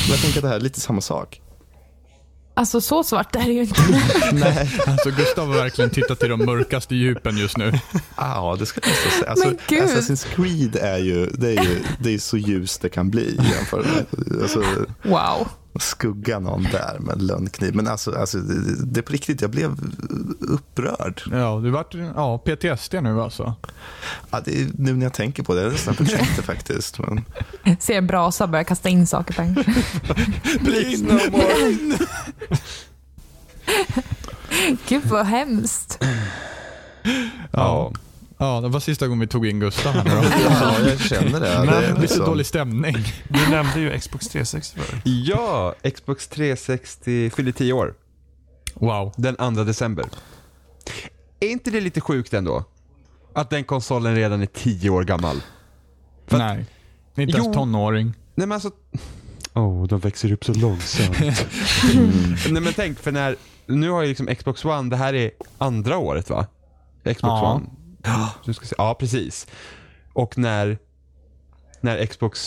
Men jag tänker att det här är lite samma sak. Alltså så svart är det ju inte. Nej, Alltså Gustav har verkligen tittat till de mörkaste djupen just nu. ja det ska jag nästan säga. Alltså, Men gud. Assassin's Creed är ju, det är ju det är så ljust det kan bli jämfört med, alltså, Wow. skugga någon där med en lönnkniv. Men alltså, alltså det, det är på riktigt, jag blev upprörd. Ja, du vart ja, PTSD nu alltså. Ja, det är, nu när jag tänker på det, det är nästan förträngde faktiskt. Men, Se en brasa börja kasta in saker på en. Please no more. Gud vad hemskt. Ja. Ja, det var sista gången vi tog in Gustav här nu då. ja, jag känner det. Men det är lite Lite liksom- dålig stämning. Du nämnde ju Xbox 360 förut. Ja, Xbox 360 fyller 10 år. Wow. Den 2 december. Är inte det lite sjukt ändå? Att den konsolen redan är 10 år gammal. Nej. Inte ens Jo. tonåring. Nej men alltså, oh, de växer upp så långsamt. Mm. Nej men tänk, för när, nu har ju liksom Xbox One, det här är andra året va? Xbox Ja. One. Du ska se. Ja, precis. Och när, när Xbox,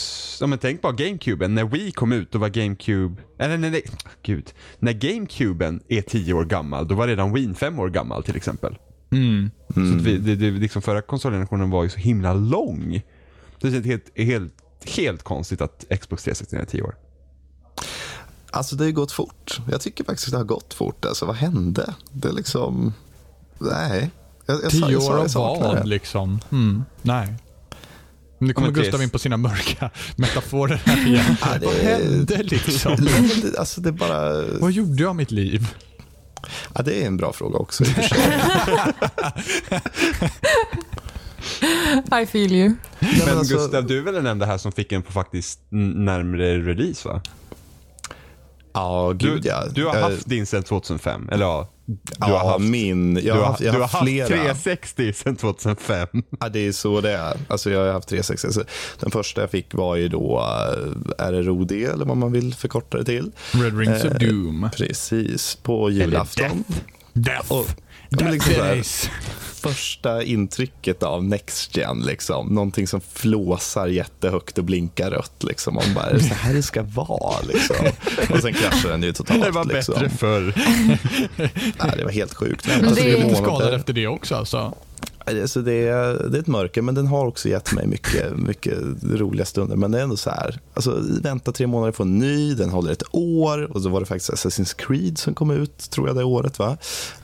ja men tänk bara GameCuben, när Wii kom ut då var GameCube, eller nej, nej, gud. När GameCuben är 10 år gammal, då var redan Wii 5 år gammal till exempel. Mm. Så att vi, det, det, liksom förra konsolgenerationen var ju så himla lång. Det känns helt, helt, helt konstigt att Xbox 360 är 10 år. Alltså det har ju gått fort. Jag tycker faktiskt det har gått fort. Alltså vad hände? Det är liksom... Nej. Jag, jag, sa- Tio jag, sa- år jag av saknar vad det. liksom? Mm. Nej. Nu kommer men det är- Gustav in på sina mörka metaforer här igen. Nej, det- Vad hände liksom? Det- Alltså det är bara... Vad gjorde jag av mitt liv? Ja, det är en bra fråga också. i och för sig. I feel you. Ja, Men alltså- Gustav, du är väl den enda här som fick en på faktiskt n- närmre release va? Ja, Du, gud ja. du har Jag- haft din sedan 2005, eller ja. Du ja, min. Jag du har har, haft, jag har du har haft haft flera. 360 sedan 2005. Ja, det är så det är. Alltså, jag har haft 360. Alltså, Den första jag fick var ju då eh, RROD, eller vad man vill förkorta det till. Red Rings of Eh, Doom. Precis, på julafton. Death. Och- Ja, men Death liksom så här- Days. Första intrycket av Next Gen, liksom. någonting som flåsar jättehögt och blinkar rött. Liksom. Man bara, är det så här det ska vara? Liksom. Och sen kraschar den ju totalt. Det var liksom. bättre förr. Ja, det var helt sjukt. Men Alltså, det det är är lite månader. skadad efter det också alltså. Så det, är, det är ett mörker, men den har också gett mig mycket, mycket roliga stunder. Men det är ändå så här, alltså, vänta tre månader på en ny, den håller ett år och så var det faktiskt Assassin's Creed som kom ut, tror jag det året. va?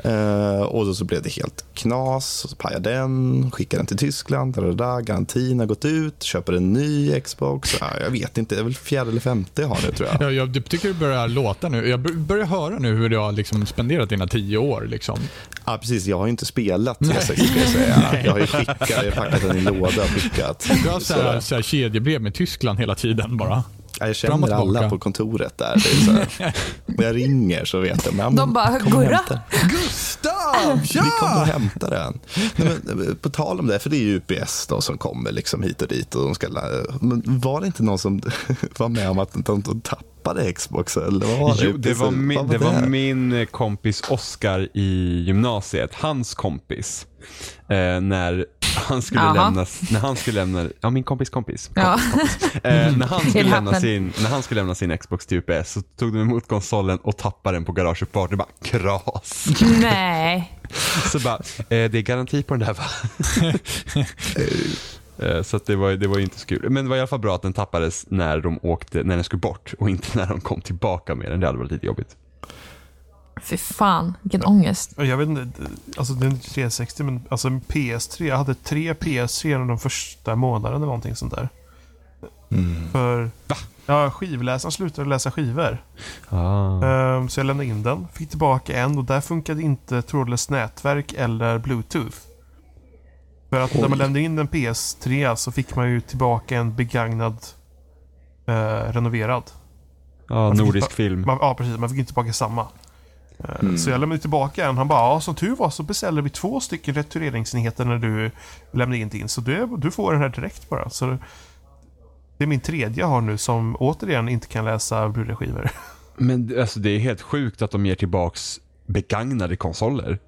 Eh, och då så blev det helt knas, och så pajade den, skickade den till Tyskland, da, da, da, garantin har gått ut, köper en ny Xbox. Ja, jag vet inte, det är väl fjärde eller femte jag har nu tror jag. Jag, jag jag tycker det börjar låta nu. Jag bör- börjar höra nu hur du har liksom spenderat dina tio år. Liksom. Ja, precis. Jag har ju inte spelat 360 ska jag säga. Jag har ju skickat, jag har packat den i en låda och skickat. Du har haft så här, så här kedjebrev med Tyskland hela tiden bara. Ja, Jag Fram och känner tillbaka. alla på kontoret där. Det är så här. När jag ringer så vet de. Men, De bara, kom och "Gurra!" hämta. Gustav! Vi kommer och hämtar den. Nej, men, eh, på tal om det, för det är ju UPS då som kommer liksom hit och dit. Och de ska, lä- men var det inte någon som var med om att de, de tappade Xbox? Eller vad var det? Jo, det UPS? var min, Vad det var här? min eh, kompis Oscar i gymnasiet, hans kompis. Eh, när han skulle Jaha. lämna, när han skulle lämna, ja min kompis kompis. Ja. Eh, när, han skulle lämna happened. sin, när han skulle lämna sin Xbox till UPS så tog de emot konsolen och tappade den på garageuppfarten. Det bara kras. Nej. Så bara, eh, det är garanti på den där va? Eh, Så att det, var, det var ju inte så kul. Men det var i alla fall bra att den tappades när de åkte, när den skulle bort och inte när de kom tillbaka med den. Det hade varit lite jobbigt. Fy fan, vilken ångest. Jag vet inte, alltså det är inte 360 men alltså en PS3. Jag hade tre PS3 under de första månaderna eller någonting sånt där. För... Va? Ja, skivläsaren slutade läsa skivor. Ah. Ehm, så jag lämnade in den, fick tillbaka en och där funkade inte trådlöst nätverk eller bluetooth. För att när man lämnade in en PS3 så fick man ju tillbaka en begagnad eh, renoverad. Ja, Man fick nordisk tillba- film. Man, ja, precis. Man fick inte tillbaka samma. Eh, Mm. Så jag lämnade tillbaka en. Han bara, ja, som tur var så beställde vi två stycken retureringsenheter när du lämnade in din. Så du, du får den här direkt bara. Så det- det är min tredje jag har nu som återigen inte kan läsa Blu-ray-skivor. Men det- alltså, det är helt sjukt att de ger tillbaks begagnade konsoler.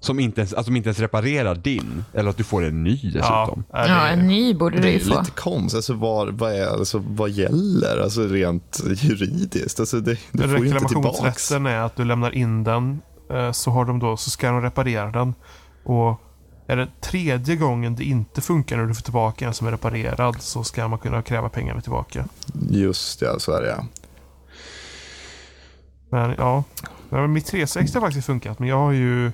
Som inte ens, att de inte ens reparerar din. Eller att du får en ny dessutom. Ja, Ja, en det, ny borde du Det är ju ju få. lite konstigt. Alltså, vad, vad, är, alltså, vad gäller alltså, rent juridiskt? Alltså, det, du får ju inte tillbaks. reklamationsrätten är att du lämnar in den. eh, Så har de då, så ska de reparera den. Och är det tredje gången det inte funkar när du får tillbaka en som är reparerad så ska man kunna kräva pengarna tillbaka. Just ja, så är det. ja. Men ja. Nej, men mitt 360 har faktiskt funkat. Men jag har ju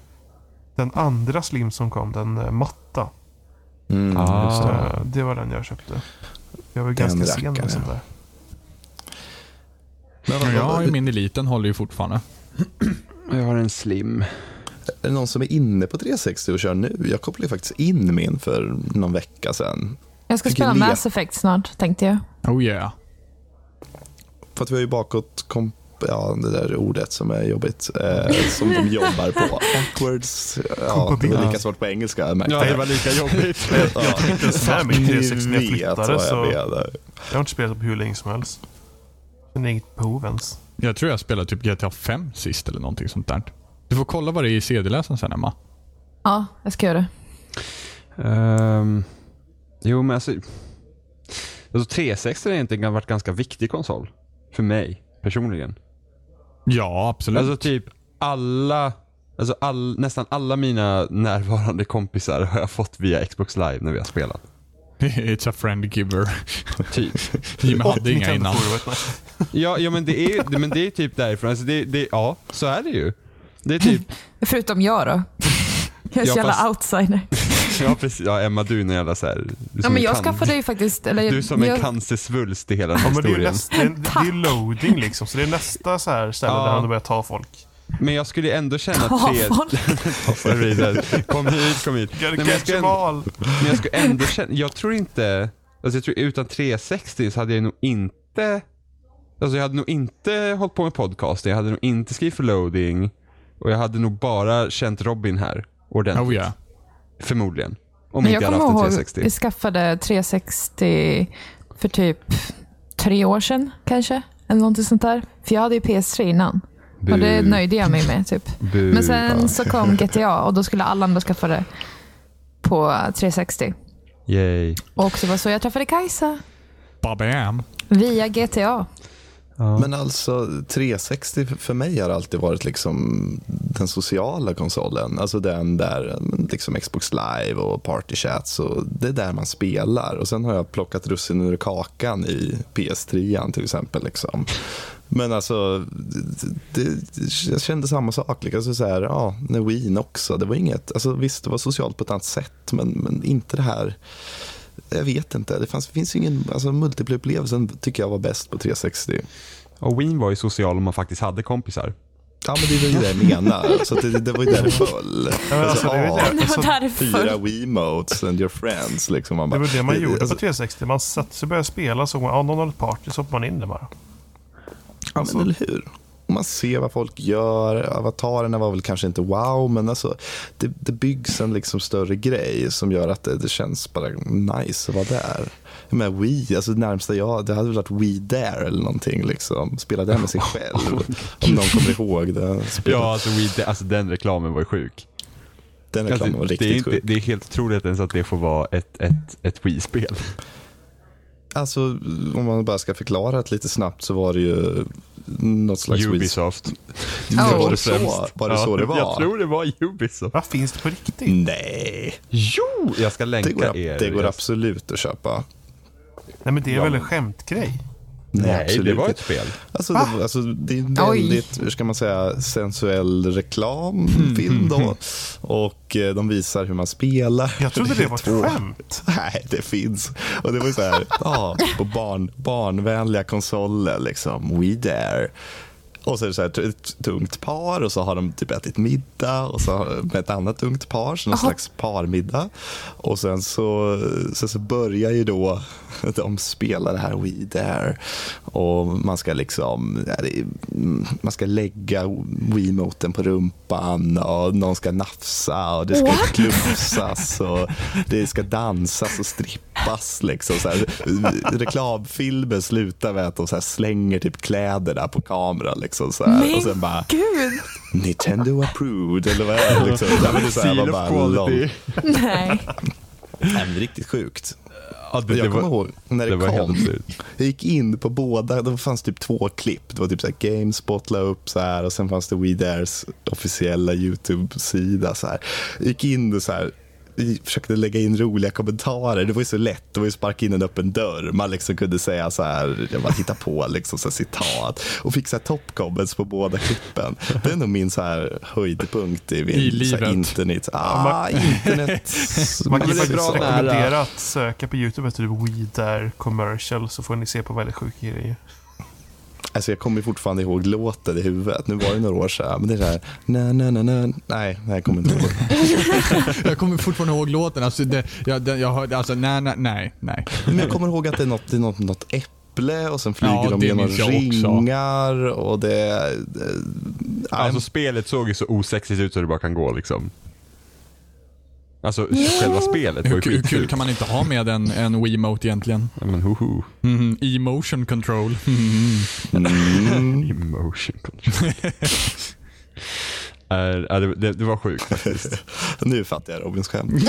den andra Slim som kom. Den eh, matta. Mm, Ah. just det. Eh, Det var den jag köpte. Jag var ju Den ganska sen rackaren. med sånt där. Men jag har ju min eliten håller ju fortfarande. Jag har en slim. Är det någon som är inne på 360 och kör nu? Jag kopplade ju faktiskt in min för någon vecka sedan. Jag ska Fick spela le. Mass Effect snart, tänkte jag. Oh yeah. För att vi har ju bakåt kom Ja, det där ordet som är jobbigt. Eh, som de jobbar på. Backwards. Ja, det var lika svårt på engelska. Jag märkte Ja, det var lika jobbigt. Ja. Jag tänkte ens med min 360 när jag flyttade, Vad så- jag menar. Jag har inte spelat på hur länge som helst. Men det är inget behov ens. Jag tror jag spelade typ GTA 5 sist eller någonting sånt där. Du får kolla vad det är i CD-läsaren sen Emma. Ja, jag ska göra det. Ehm, jo, men alltså, alltså 360 har egentligen varit en ganska viktig konsol. För mig personligen. Ja, absolut. Alltså typ alla, alltså all, nästan alla mina närvarande kompisar har jag fått via Xbox Live när vi har spelat. It's a friend giver. Typ. Jimmy hade inga innan. Nintendoforumet. Ja, ja men, det är, ju- men det är typ därifrån. Alltså det, det, ja, så är det ju. Det är typ, Förutom jag då. Jag är Ja, så jävla fast- outsider. ja precis. Ja, Emma du är en jävla såhär. Ja, men jag skaffade ju faktiskt... Eller, Du är som en jag, cancersvulst i hela den Ja, här men det är ju historien. nästa, det är, det är ju loading liksom. Så det är nästa så här ställe Ja. där han börjar ta folk. Men jag skulle ändå känna Ta tre... folk. Ta folk. kom hit, kom hit. Nej, men jag, Get skulle your ändå, ball! men jag skulle ändå känna... Jag tror inte... Alltså jag tror utan 360 så hade jag nog inte... Alltså jag hade nog inte hållit på med podcasting. Jag hade nog inte skrivit för loading. Och jag hade nog bara känt Robin här. Ordentligt. Oh yeah. Förmodligen. Om men inte jag jag kommer hade haft ihåg en 360. vi skaffade 360 för typ tre år sedan kanske. Eller någonting sånt där. För jag hade ju PS3 innan. Och det Bu. nöjde jag mig med typ. Bu. Men sen så kom GTA och då skulle alla andra skaffa det på 360. Yay. Och det var så jag träffade Kajsa. Babam. Via GTA. Men alltså 360 f- för mig har alltid varit liksom den sociala konsolen. Alltså den där men, liksom Xbox live och party chats och det är där man spelar. Och sen har jag plockat russin ur kakan i PS3 till exempel. Liksom. Men alltså, det, det, jag kände samma sak. Liksom. Alltså, så här, ja, när Wien också. Det var inget, alltså, visst, det var socialt på ett annat sätt, men, men inte det här jag vet inte. Det fanns, finns ju ingen, alltså multiplayer-upplevelsen tycker jag var bäst på 360. Och Wien var ju social om man faktiskt hade kompisar. Ja, men det var ju det jag menade. Så att det, det var ju där det föll. men Alltså, alltså, det är ju ja, det. Det Alltså, var därför. fyra Wiimotes and your friends. Liksom. Man Det bara, var det man gjorde på alltså, 360. Man satte sig och började spela. Så ja, någon hade ett party så hoppade man in där bara. ja, men eller hur? Och alltså, Man ser vad folk gör. Avatarerna var väl kanske inte wow, men alltså, det, det byggs en liksom större grej som gör att det, det känns bara nice att vara där. Jag menar, Wii, alltså det närmsta jag, det hade väl varit We There eller någonting. Liksom. Spela det här med sig själv, om någon kommer ihåg det. Spela Ja, alltså, Wii, det- alltså den reklamen var ju sjuk. Den reklamen var Alltså, riktigt det, är inte, sjuk. det är helt otroligt ens att det får vara ett, ett, ett Wii-spel. Alltså, om man bara ska förklara det lite snabbt så var det ju något slags... Ubisoft. Ja, Oh. var det så, var det, så det var? Jag tror det var Ubisoft. Vad finns det på riktigt? Nej, Jo! Jag ska länka det går, ab- er. det går Jag- absolut att köpa. Nej men det är väl en skämtgrej? Nej, absolut det var ett inte. spel. Alltså, det, alltså, det är en Oj. väldigt, hur ska man säga, sensuell reklamfilm då. Och eh, de visar hur man spelar. Jag trodde det var två- ett skämt. Nej, det finns. Och det var ju så här, ja, på barn, barnvänliga konsoler, liksom, we there. Och så är det så här, t- ett tungt par och så har de typ ätit middag och så har- med ett annat tungt par, så någon Jaha. slags parmiddag. Och sen så, sen så börjar ju då de spela det här We There. Och man ska liksom, ja, det är- mm, man ska lägga Wiimoten på rumpan och någon ska nafsa och det ska What? klufsas och det ska dansas och strippas. Liksom, så här. Reklamfilmen slutar med att de så här slänger typ kläderna på kameran. Liksom, så här. Och sen bara, Men gud. Nintendo approved eller vad är det? Liksom. Ja, men det är så här, man Seal bara, of lång- quality. Nej. Nej, men det är riktigt sjukt. Ja, det, jag det kommer var, ihåg när det, det var kom. helt slut. Jag gick in på båda, det fanns typ två klipp. Det var typ så här Gamespot la upp så här och sen fanns det We Dares officiella YouTube-sida. Så här. Jag gick in och så här, i- försökte lägga in roliga kommentarer. Det var ju så lätt, det var ju sparka in en öppen dörr. Man liksom kunde säga så här, jag bara hitta på liksom så här citat och fick så här top comments på båda klippen. Det är nog min så här höjdpunkt i min I Så här livet. internet. Ah, internet. Man Men kan Alltså, Alltså, det är faktiskt bra. rekommendera att söka på YouTube efter typ We There Commercial så får ni se på väldigt sjuka grejer. Alltså jag kommer fortfarande ihåg låten i huvudet. Nu var det några år sedan. Men det är så här, na, na, na, na. Nej, nej, jag kommer inte ihåg. Jag kommer fortfarande ihåg låten. Alltså, det, jag, den, jag hörde, alltså nej, nej, nej, nej. Men jag kommer ihåg att det är något, det är något, något äpple och sen flyger Ja, de det genom minns jag också. ringar och det... eh, nej, Alltså, Alltså spelet såg ju så osexigt ut så det bara kan gå liksom. Alltså själva spelet var Hur ju kul, skitkul. kul kan man inte ha med en, en Wiimote egentligen? Ja, men hoho. Mm, emotion control. mm. Emotion control. Eh, ja, det, det, det var sjukt faktiskt. Nu fattar jag Robins skämt.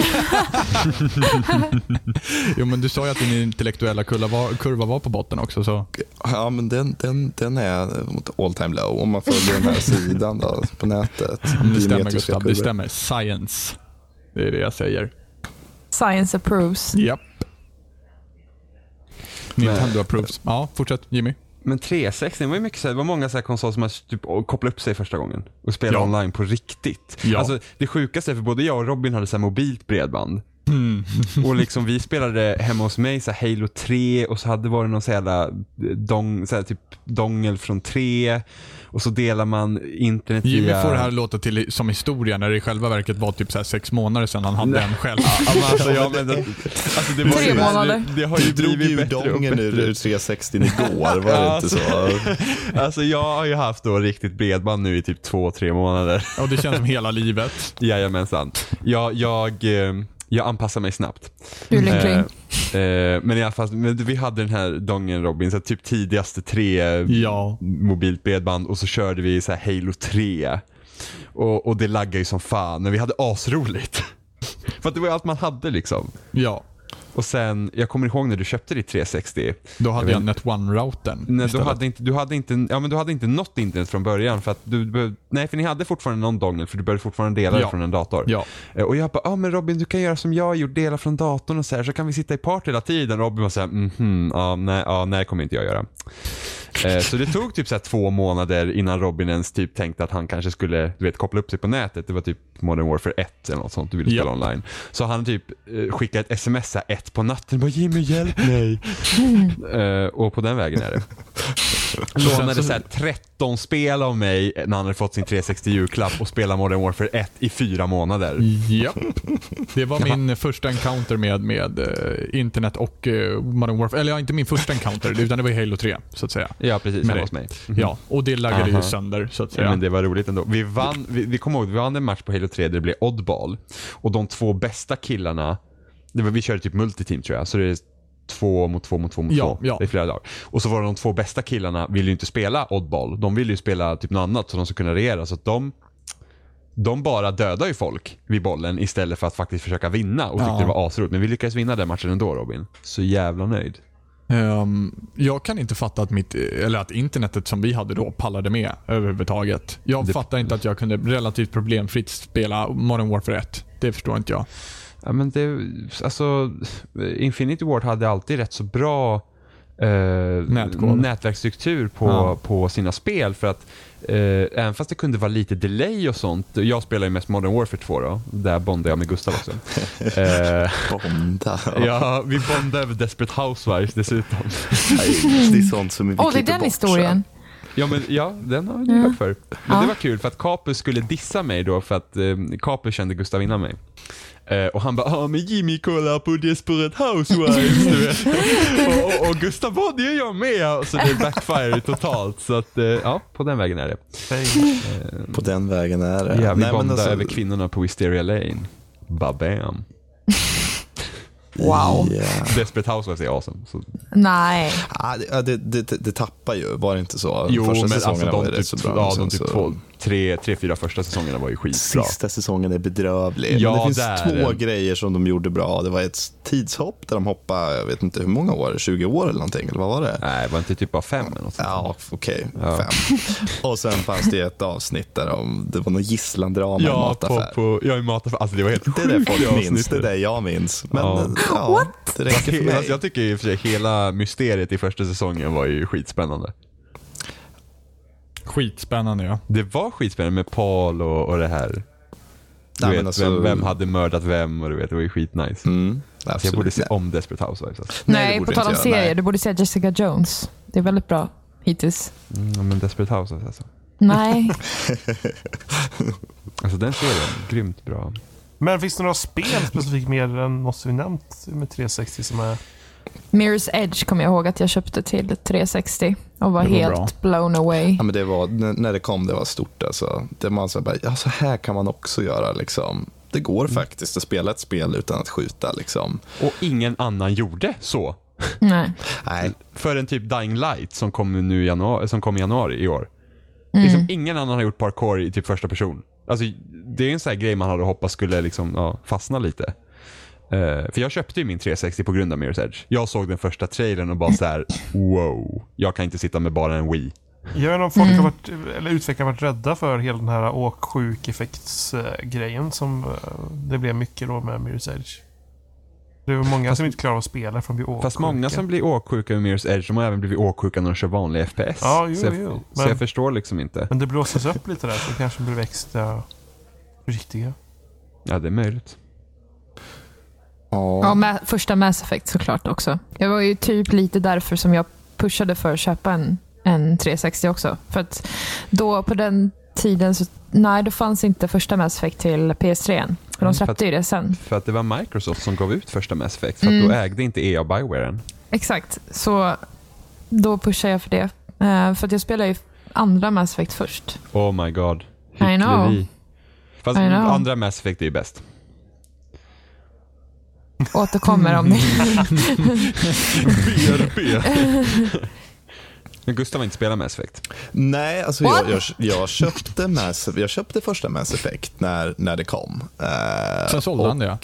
Jo men du sa ju att din intellektuella kurva var, kurva var på botten också så. Ja, men den, den, den är mot all time low om man följer den här sidan då, på nätet. Det stämmer Geometriska Gustav, kurvor. det stämmer. Science. Det är det jag säger. Science approves. Japp. Nintendo approves. Ja, fortsätt Jimmy. Men 360 var ju mycket så här, det var många så här konsoler som man typ kopplade upp sig första gången och spelade Ja. online på riktigt. Ja. Alltså, det sjukaste är för både jag och Robin hade så här mobilt bredband. och liksom vi spelade hemma hos mig så här Halo 3 och så hade var det någon så här jävla eh, dong, så här typ dongel från 3 och så delar man internet Jimmy via... får det här låta till, som historia när det i själva verket var typ så här sex månader sedan han hade en själv. Ja, men alltså, ja, men, det- alltså, det var Tre ju, månader. Det, det har Du ju drog blivit ju bättre och dongen ur, bättre. ur 360 igår, var det Ja, inte så? Alltså jag har ju haft då riktigt bredband nu i typ två, tre månader. Och det känns som hela livet. Jajamensan. Jag, jag, eh, jag anpassar mig snabbt. Du är lycklig. Eh, eh, men i alla fall, men vi hade den här dongen Robin, så här, typ tidigaste tre Ja. mobilt bredband och så körde vi så här Halo 3. Och, och det laggade ju som fan, men vi hade asroligt. För att det var ju allt man hade liksom. Ja. Och sen, jag kommer ihåg när du köpte ditt 360. Då hade Jag jag Net One-routern Nej, du Liksom. istället. hade, inte, du, hade inte, ja, men du hade inte nått internet från början. För att du, behöv- nej, för ni hade fortfarande någon dongle för du började fortfarande dela det Ja. från en dator. Ja. Eh, Och jag bara, ah, men Robin du kan göra som jag gjorde, dela från datorn och så här, så kan vi sitta i part hela tiden. Robin var såhär, mhm, ja, nej, ja, nej kommer inte jag göra. Eh, Så det tog typ så här två månader innan Robin ens typ tänkte att han kanske skulle du vet, koppla upp sig på nätet. Det var typ Modern Warfare 1 eller något sånt du ville spela Ja. online. Så han typ eh, skickade ett sms så här ett på natten bara Jimmy hjälp mig. Eh, Och på den vägen är det. Lånade så här 13 spel av mig när han hade fått sin 360 julklapp och spelade Modern Warfare 1 i fyra månader. Japp. Det var min första encounter med, med eh, internet och eh, Modern Warfare. Eller ja, inte min första encounter, utan det var ju Halo 3, så att säga. Ja, precis. Med Hemma dig. hos mig. Ja, och det laggade Aha. ju sönder, så att Ja, säga. men det var roligt ändå. Vi vann, vi, vi kommer ihåg, vi vann en match på Halo 3 där det blev oddball. Och de två bästa killarna, det var, vi körde typ multiteam tror jag, så det är två mot två mot två mot Ja, två ja. i flera dagar. Och så var det de två bästa killarna ville ju inte spela oddball. De ville ju spela typ något annat så de skulle kunna regera. Så att de, de bara dödar ju folk vid bollen istället för att faktiskt försöka vinna och tyckte Ja. det var asroligt. Men vi lyckades vinna den matchen ändå Robin. Så jävla nöjd. Ehm, jag kan inte fatta att, mitt, eller att internetet som vi hade då pallade med överhuvudtaget. Jag fattar inte att jag kunde relativt problemfritt spela Modern Warfare 1. Det förstår inte jag. Ja, men det, alltså, Infinity Ward hade alltid rätt så bra eh, Nätkod. nätverksstruktur på, Ja. på sina spel. För att eh, Även fast det kunde vara lite delay och sånt. Jag spelar ju mest Modern Warfare 2 då. Där bondade jag med Gustav också. eh, Bonda. ja, vi bondade över Desperate Housewives dessutom. Det är sånt som vi Åh, det är klipper den bort historien. Ja, men, ja den har vi hört för. Men Ja. det var kul för att Capus skulle dissa mig då för att eh, Capus kände Gustav innan mig. Eh, och han bara ah, men Jimmy kollar på Desperate Housewives” du vet. och, och, och Gustav bara “det gör jag med” så det backfire totalt. Så att eh, ja, på den vägen är det. Fail. sen. På den vägen är det. Ja, vi Nej, men bondade alltså, över kvinnorna på Wisteria Lane. Babam. Wow. ja. Desperate Housewives är awesome. Så. Nej. Ah, det- ja, det, det, det, det tappar ju, var det inte så? Jo, Första men säsongerna alltså var de ju typ, rätt så bra. ja, men sen de typ så- två, tre, tre, fyra första säsongerna var ju skitbra. Sista säsongen är bedrövlig. Ja, men det finns där är två den. grejer som de gjorde bra. Det var ett tidshopp där de hoppade, jag vet inte hur många år, 20 år eller någonting. Eller vad var det? Nej, var inte typ bara fem eller något sånt? Ja, okej. Fem. Och sen fanns det ju ett avsnitt där de, det var någon gisslandrama i en Ja, på, mataffär. på, ja, i mataffär. Alltså det var helt Det är det sjukt folk minns, avsnittet. det är det jag minns. Men Ja. ja, det räcker för Alltså, mig. jag tycker i och för sig hela mysteriet i första säsongen var ju skitspännande. Skitspännande ja. Det var skitspännande med Paul och, och det här. Du Nej, men vet, alltså- vem, vem hade mördat vem och du vet, det var ju skitnice. Mm, Alltså, jag absolut. borde se om Desperate Housewives. Alltså. Nej, det Nej, borde på du inte tal om göra. serier. Nej. Du borde se Jessica Jones. Det är väldigt bra hittills. Mm, men Desperate Housewives alltså. Nej. Alltså den serien, grymt bra. Men finns det några spel specifikt mer än något vi nämnt med 360 som är... Mirror's Edge kommer jag ihåg att jag köpte till 360 och var Det var helt blown away. Ja, men alltså det var, n- när det kom, det var stort. Alltså. Det man så här bara, ja, så här kan man också göra. Liksom. Det går Mm. faktiskt att spela ett spel utan att skjuta. Liksom. Och ingen annan gjorde så. Nej. Nej, För en typ Dying Light som kom, nu i januari, som kom i januari i år. Liksom ingen annan har gjort parkour i typ första person. Alltså, det är en sån här grej man hade hoppats skulle liksom, ja, fastna lite. Eh, för jag köpte ju min 360 på grund av Mirror's Edge. Jag såg den första trailern och bara så här: wow. Jag kan inte sitta med bara en Wii. Jag vet inte om folk Mm. har varit, eller utvecklare har varit rädda för hela den här åksjuk-effekts-grejen som eh, det blev mycket då med Mirror's Edge. Det var många som inte klarade av att spela för de blev åksjuka. Fast många som blir åksjuka med Mirror's Edge, de har även blivit åksjuka när de kör vanlig FPS. Ja, jo, så, jag, jo. så Men- jag förstår liksom inte. Men det blåses upp lite där så kanske de blev extra riktiga. Ja, det är möjligt. Ja, med, första Mass Effect såklart också. Det var ju typ lite därför som jag pushade för att köpa en, en 360 också. För att då på den tiden så, nej, då fanns inte första Mass Effect till PS3 än. För Mm, de för att- släppte ju det sen. För att det var Microsoft som gav ut första Mass Effect, för att då ägde inte EA Bioware den. Exakt, så då pushar jag för det. Eh, för att jag spelar ju andra Mass Effect först. Oh my god. I know. Hyckleri. Fast I know. andra Mass Effect är ju bäst. Återkommer om det. BRB. Men Gustav har inte spelat Mass Effect. Nej, alltså What? jag, jag, jag, köpte Mass, jag köpte första Mass Effect när, när det kom. Eh, Sen sålde han det, ja.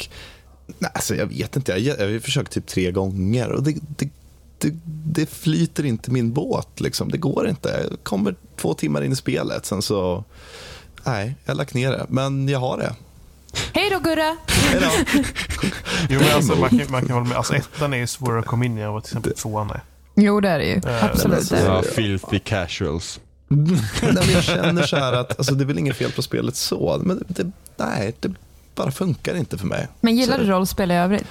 Nej, alltså jag vet inte. Jag, jag har försökt typ tre gånger och det, det, det, det flyter inte min båt. Liksom. Det går inte. Jag kommer två timmar in i spelet, sen så... Nej, jag har lagt ner det. Men jag har det. Hej då Gurra! Hej då. Jo men alltså man kan, man kan hålla med. Alltså ettan är ju svårare att komma in i än vad till exempel tvåan är. Jo, det är det ju. Eh, Absolut. alltså, det är det. Ja, filthy casuals. Nej, men jag känner så här att alltså, det är väl inget fel på spelet så, men det, det, nej, det bara funkar inte för mig. Men gillar Så- du rollspel i övrigt?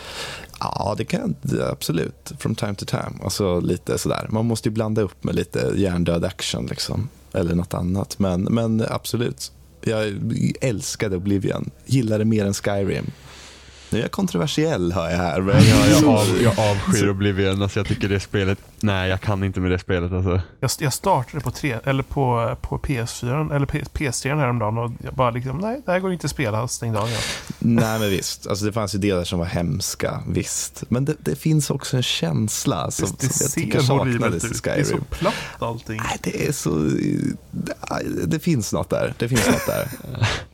Ja, det kan jag absolut. From time to time. Alltså lite sådär. Man måste ju blanda upp med lite hjärndöd action liksom. Eller något annat. Men, men absolut. Jag älskade Oblivion. Gillade mer än Skyrim. Nu är jag kontroversiell hör jag här. Men Ja, jag, Så- av, jag avskyr Oblivion. Alltså, jag tycker det spelet... Nej, jag kan inte med det spelet alltså. Jag, jag startade på, tre, eller på, på PS4, eller P- PS3 häromdagen och jag bara liksom, nej det här går inte att spela, Alltså, stängde av igen. Nej, men visst. Alltså, det fanns ju delar som var hemska, visst. Men det, det finns också en känsla som, Alltså, Det, det som jag tycker ser saknades horribelt i ut. Det är så Skyrim. platt allting. Nej, det är så... Det finns något där. Det finns något där.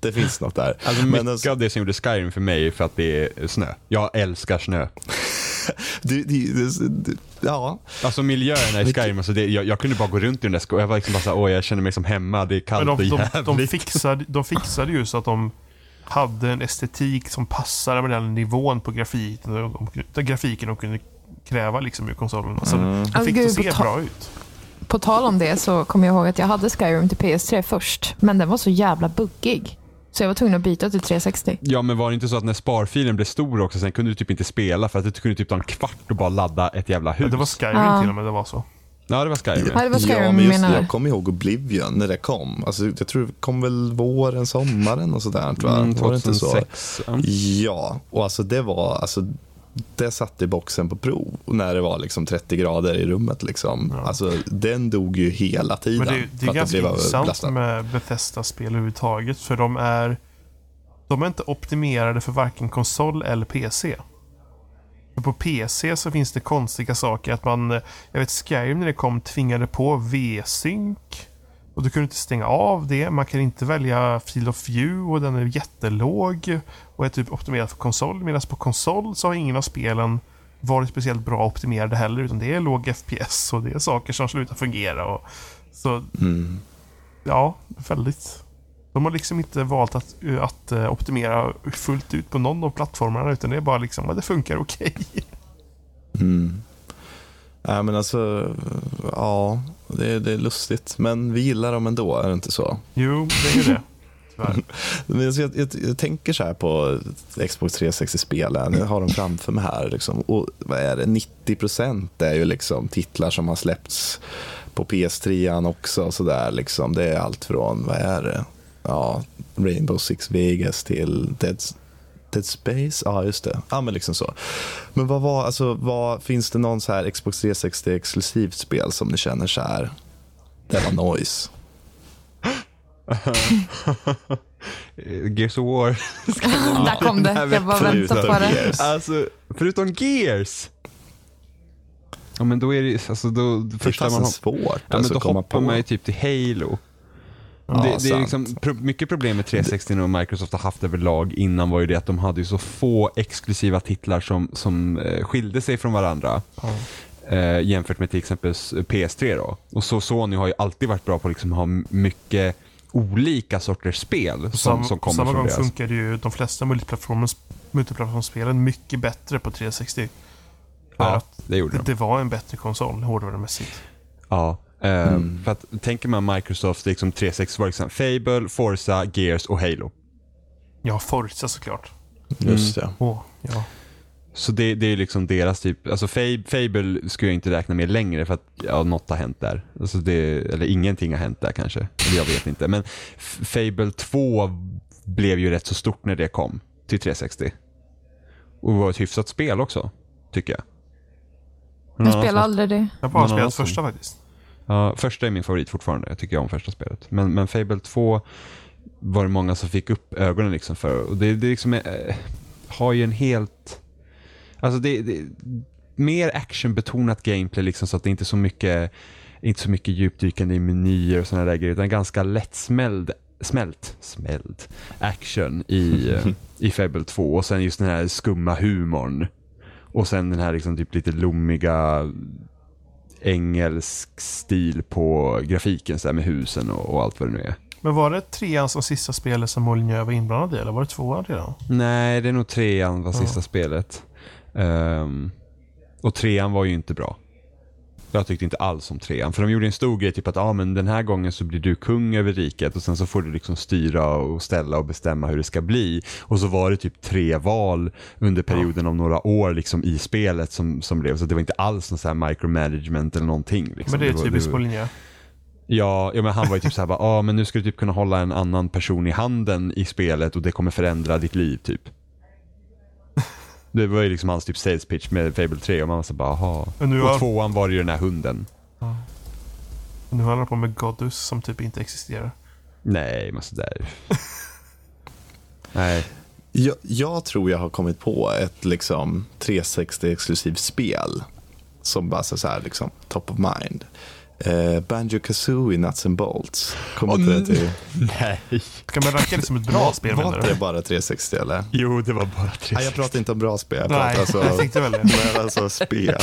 Det finns något där. Alltså, mycket alltså- av det som gjorde Skyrim för mig är för att det är snö. Jag älskar snö. Du, du, du, du, ja, Alltså miljöerna i Skyrim, alltså det, jag, jag kunde bara gå runt i den där skogen. Jag var liksom bara såhär, åh jag känner mig som hemma, det är Men kallt de, och de, de, jävligt. fixade, de fixade ju så att de hade en estetik som passade med den nivån på grafiken, och de, den grafiken de kunde kräva liksom ur konsolen. Alltså, Det Mm. Alltså, fick det gud, se på ta- bra ut. På tal om det så kommer jag ihåg att jag hade Skyrim till PS3 först, men den var så jävla buggig. Så jag var tvungen att byta till 360. Ja men var det inte så att när sparfilen blev stor också, sen kunde du typ inte spela för att du kunde typ ta en kvart och bara ladda ett jävla hus. Det var Skyrim till och med, det var så. Ja, det var Skyrim. Ja, det var Skyrim ja, men just det, menar jag kommer ihåg Oblivion när det kom. Alltså, jag tror det kom väl våren, sommaren och sådär. Va? Mm, var det inte så? 2006. Ja. Ja, och alltså det var, alltså, det satte boxen på prov när det var liksom 30 grader i rummet. Liksom. Alltså, den dog ju hela tiden. Men det, det för är att ganska blev intressant överbelastat. med Bethesda-spel överhuvudtaget. För de är, de är inte optimerade för varken konsol eller PC. För på PC så finns det konstiga saker. Att man, eh, jag vet Skyrim när det kom tvingade på V-sync. Och du kunde inte stänga av det. Man kan inte välja Field of View och den är jättelåg. Och är typ optimerad för konsol. Medan på konsol så har ingen av spelen varit speciellt bra optimerade heller. Utan det är låg FPS och det är saker som slutar fungera. Och, så Mm. Ja, väldigt. De har liksom inte valt att, att eh, optimera fullt ut på någon av plattformarna utan det är bara liksom, ja, det funkar okej. Nej, men alltså, ja, det, det är lustigt. Men vi gillar dem ändå, är det inte så? Jo, det är ju det. Tyvärr. Men alltså, jag, jag, jag tänker så här på Xbox 360-spelen. Jag har dem framför mig här. Liksom. Och vad är det? 90 procent är ju liksom titlar som har släppts på PS3 också. Och så där, liksom. Det är allt från, vad är det? Ja, Rainbow Six Vegas till Dead, Dead Space. Ja, just det. Ja, men liksom så. Men vad var, alltså, vad, finns det någon så här Xbox 360-exklusivt spel som ni känner så här, det var noise? Eh, Gears of War. Där kom det. Jag bara Förutom väntade på det. Gears. Alltså, förutom Gears. Ja men då är det ju- alltså då, det Det är första man fasen har, svårt ja, men alltså, då att komma på. hoppar man ju typ till Halo. Ja, det, det är sant. liksom, pro, mycket problem med 360 och Microsoft har haft överlag innan var ju det att de hade ju så få exklusiva titlar som, som eh, skilde sig från varandra. Eh, jämfört med till exempel s- PS3 då. Och så Sony har ju alltid varit bra på att liksom ha m- mycket olika sorters spel som, Sam, som kommer samma från gång deras. funkade ju de flesta multiplattformens- multiplattformsspelen mycket bättre på 360. För Ja, att det gjorde det, de. det var en bättre konsol hårdvarumässigt. Ja. Eh, För att tänker man Microsoft liksom 360 var det liksom Fable, Forza, Gears och Halo. Ja, Forza såklart. Just det. Åh, ja. Så det, det är liksom deras typ, alltså Fab, Fable skulle jag inte räkna med längre för att ja, något har hänt där. Alltså det, eller ingenting har hänt där kanske. Eller jag vet inte. Men F- Fable 2 blev ju rätt så stort när det kom till 360. Och var ett hyfsat spel också, tycker jag. Någon Jag annan spelar som- aldrig det. Jag har bara Någon annan spelat som- första faktiskt. Ja, första är min favorit fortfarande. Jag tycker om första spelet. Men, men Fable 2 var det många som fick upp ögonen liksom för. Och det, det liksom är, eh, har ju en helt... Alltså det, det mer actionbetonat gameplay liksom så att det inte är så mycket, inte så mycket djupdykande i menyer och sådana där grejer. Utan ganska lättsmäld smält, smält action i, eh, i Fable 2. Och sen just den här skumma humorn. Och sen den här liksom typ lite lommiga engelsk stil på grafiken så här med husen och, och allt vad det nu är. Men var det trean som sista spelet som Molinjö var inblandad i eller var det tvåan redan? Alltså, Nej, det är nog trean var sista spelet. Ehm, och trean var ju inte bra. Jag tyckte inte alls om trean. För de gjorde en stor grej, typ att ah, men den här gången så blir du kung över riket och sen så får du liksom styra och ställa och bestämma hur det ska bli. Och så var det typ tre val under perioden om några år liksom i spelet som, som blev. Så det var inte alls någon så här micromanagement eller någonting. Liksom. Men det är var- typiskt var- Molinjö. Ja, ja men han var ju typ såhär bara, ah, men nu ska du typ kunna hålla en annan person i handen i spelet och det kommer förändra ditt liv typ. Det var ju liksom hans typ sales pitch med Fable 3 och man var så bara, aha. Men nu Och har- tvåan var det ju den här hunden. Nu håller han på med Godus som typ inte existerar. Nej, men sådär. Nej. Jag, jag tror jag har kommit på ett liksom, 360-exklusivt spel som bara så så här, liksom, top of mind. Eh, Banjo Kazooie Nuts and Bolts. Kommer inte det till? Nej. Ska man ranka det som ett bra spel menar Var det du? bara 360 eller? Jo, det var bara tre. Nej, jag pratar inte om bra spel. Jag pratar Nej, alltså, jag tänkte väl det. men alltså spel.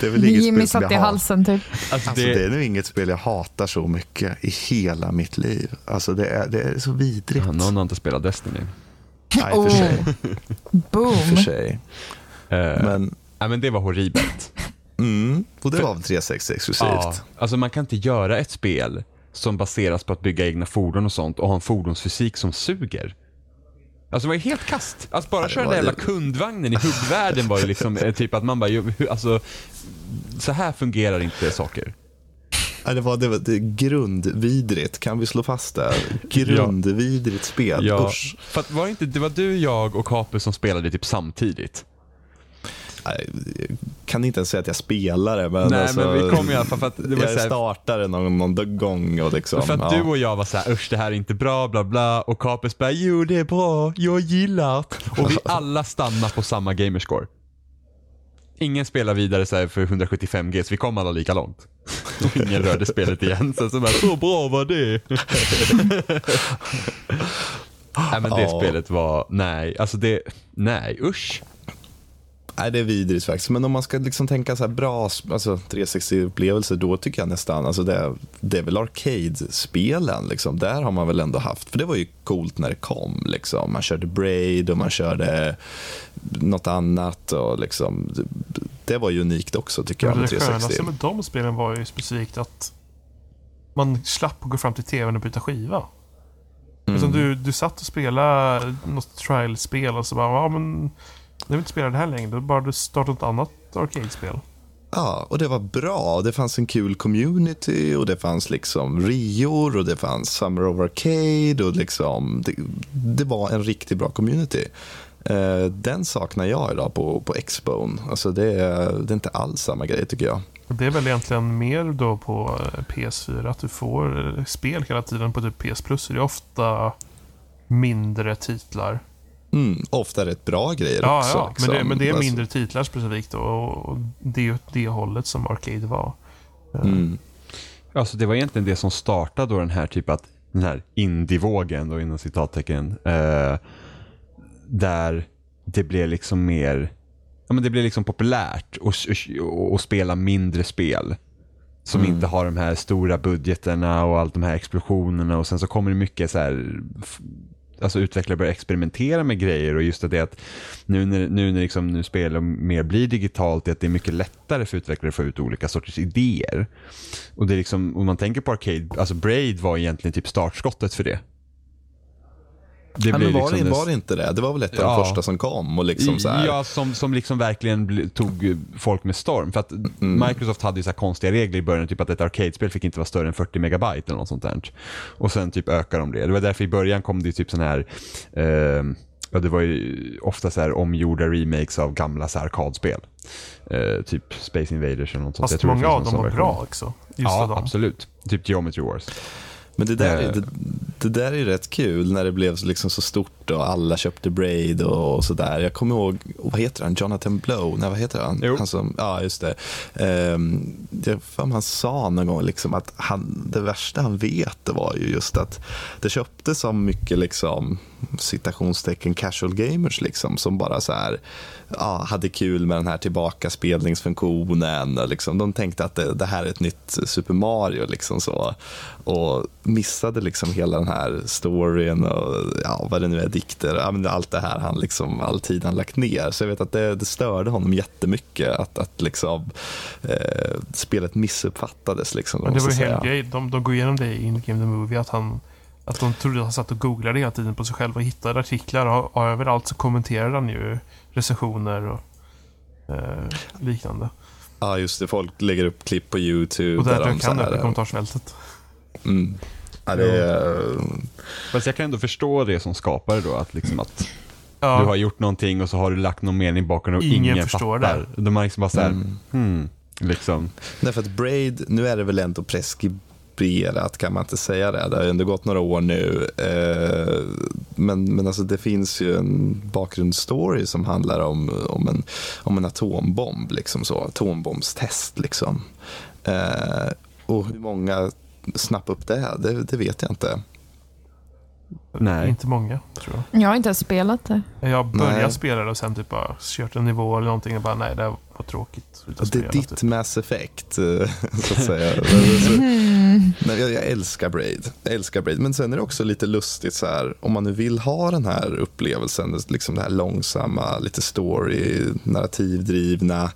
Det är väl inget Jimmy spel som satt i jag hatar. halsen typ. Alltså, det... är nog inget spel jag hatar så mycket i hela mitt liv. Alltså, det, är, det är så vidrigt. Oh. Ja, någon har inte spelat Destiny. Nej, för sig. För Oh. Boom. sig. Eh, Men, Nej, men det var horribelt. mm, och det var väl 360 exklusivt. Ja, alltså man kan inte göra ett spel som baseras på att bygga egna fordon och sånt och ha en fordonsfysik som suger. Alltså det var ju helt kast. Att bara köra den där var- jävla kundvagnen i huggvärlden var ju liksom eh, typ att man bara, ju, hur- alltså så här fungerar inte saker. Ja, det var, det var det, grundvidrigt. Kan vi slå fast det? Grundvidrigt spel. Usch. För att var det inte, det var du, jag och Kape som spelade typ samtidigt. Nej, jag Kan inte ens säga att jag spelar det, men, Nej, alltså, men vi kom i alla fall för att det var så jag här- startade någon, någon gång. Och liksom, För att ja. du och jag var så här, usch det här är inte bra, bla bla. Och Kapes bara, jo det är bra, jag gillar det." Och vi alla stannar på samma gamerscore. Ingen spelar vidare så här för 175G, så vi kom alla lika långt. Och Ingen rörde spelet igen, sen så bara, så bra var det. nej men det Ja. spelet var, nej, alltså det, nej, usch. Nej, det är vidrigt faktiskt. Men om man ska liksom tänka så här bra sp- alltså 360-upplevelser, då tycker jag nästan, alltså det, är- det är väl arcade-spelen, liksom. där har man väl ändå haft, för det var ju coolt när det kom. Liksom. Man körde Braid och man körde något annat. Och liksom, det, det var ju unikt också tycker Ja, jag det med skönaste 360. med de spelen var ju specifikt att man slapp att gå fram till tvn och byta skiva. Mm. Utan du, du satt och spelade något trial-spel och så bara, ja men jag vill inte spela det här längre. Då bara du startade ett annat arcade-spel. Ja, och det var bra. Det fanns en kul community och det fanns liksom Rior och det fanns Summer of Arcade och liksom det, det var en riktigt bra community. Eh, den saknar jag idag på, på Xbone. Alltså det, är- det är inte alls samma grej tycker jag. Och Det är väl egentligen mer då på eh, PS4, att du får eh, spel hela tiden på typ PS Plus. Så Det är ofta mindre titlar. Mm, ofta rätt bra grejer Ja, också. ja. Men, det, liksom. men det är Alltså, mindre titlar specifikt då, och och det är ju åt det hållet som Arcade var. Mm. Alltså det var egentligen det som startade då den här typ att den här indievågen då inom citattecken. Eh, där det blev liksom mer, ja men det blev liksom populärt att och, och spela mindre spel. Som Mm. inte har de här stora budgeterna och allt de här explosionerna och sen så kommer det mycket så här, f- alltså utvecklare börjar experimentera med grejer och just det att nu när, nu när liksom, nu spel och mer blir digitalt, det är att det är mycket lättare för utvecklare att få ut olika sorters idéer. Och det är liksom, om man tänker på Arcade, alltså Braid var egentligen typ startskottet för det. Det Ja, blir liksom men var, det, den- var det inte det? Det var väl ett av Ja. de första som kom och liksom så här. Ja, som, som liksom verkligen bl- tog folk med storm. För att Mm. Microsoft hade ju så här konstiga regler i början, typ att ett arkadespel fick inte vara större än 40 megabyte eller något sånt där. Och sen typ ökar de det. Det var därför i början kom det ju typ sån här, eh, ja det var ju ofta så här omgjorda remakes av gamla så här arkadspel. Eh, typ Space Invaders eller något sånt. Jag Fast tror det många av finns någon dem sån var version. bra också. Just av Ja, dem. absolut. Typ Geometry Wars. Men det där, Eh. det, det där är ju rätt kul när det blev så liksom så stort och alla köpte Braid och, och sådär. Jag kommer ihåg, vad heter han, Jonathan Blow? Nej, vad heter han? Jo. han som, ja, just det. Ehm, jag fan han sa någon gång liksom att han, det värsta han vet det var ju just att det köptes så mycket liksom, citationstecken casual gamers liksom, som bara så här, ja, hade kul med den här tillbakaspelningsfunktionen. och Liksom. De tänkte att det, det här är ett nytt Super Mario liksom så, och missade liksom hela den här storyn och ja, vad det nu är, dikter, ja, men allt det här han liksom, all tid han lagt ner. Så jag vet att det, det störde honom jättemycket att, att liksom, eh, spelet missuppfattades. Liksom, Men det måste var ju jag hel säga. grej. De, de går igenom det i In Game The Movie. Att, han, att de trodde att han satt och googlade hela tiden på sig själv och hittade artiklar. Och, och överallt så kommenterade han ju recensioner och eh, liknande. Ja, just det. Folk lägger upp klipp på YouTube. Och där där de dök så han upp i här, kommentarsfältet. mm. ja, det är, Fast jag kan ändå förstå det som skapare då, att liksom att Ja, Du har gjort någonting och så har du lagt någon mening bakom och Ingen ingen, förstår fattar. De har liksom bara såhär, Mm. hmm, liksom. Nej, för att Braid, nu är det väl ändå preskriberat, kan man inte säga det? Det har ju ändå gått några år nu. Eh, men men alltså, det finns ju en bakgrundsstory som handlar om, om, en, om en atombomb, liksom så, atombombstest. Liksom. Eh, och hur många snappade upp det, det, det vet jag inte. Nej. inte många tror jag. Jag har inte ens spelat det. Jag började Nej. spela det och sen typ bara kört en nivå eller någonting och bara nej, det här var tråkigt. Sluta Det spela, är typ. ditt Mass Effect, eh, så att säga. Men alltså, Nej, jag, jag älskar Braid. Jag älskar Braid. Men sen är det också lite lustigt så här, om man nu vill ha den här upplevelsen, liksom det här långsamma, lite story, narrativdrivna,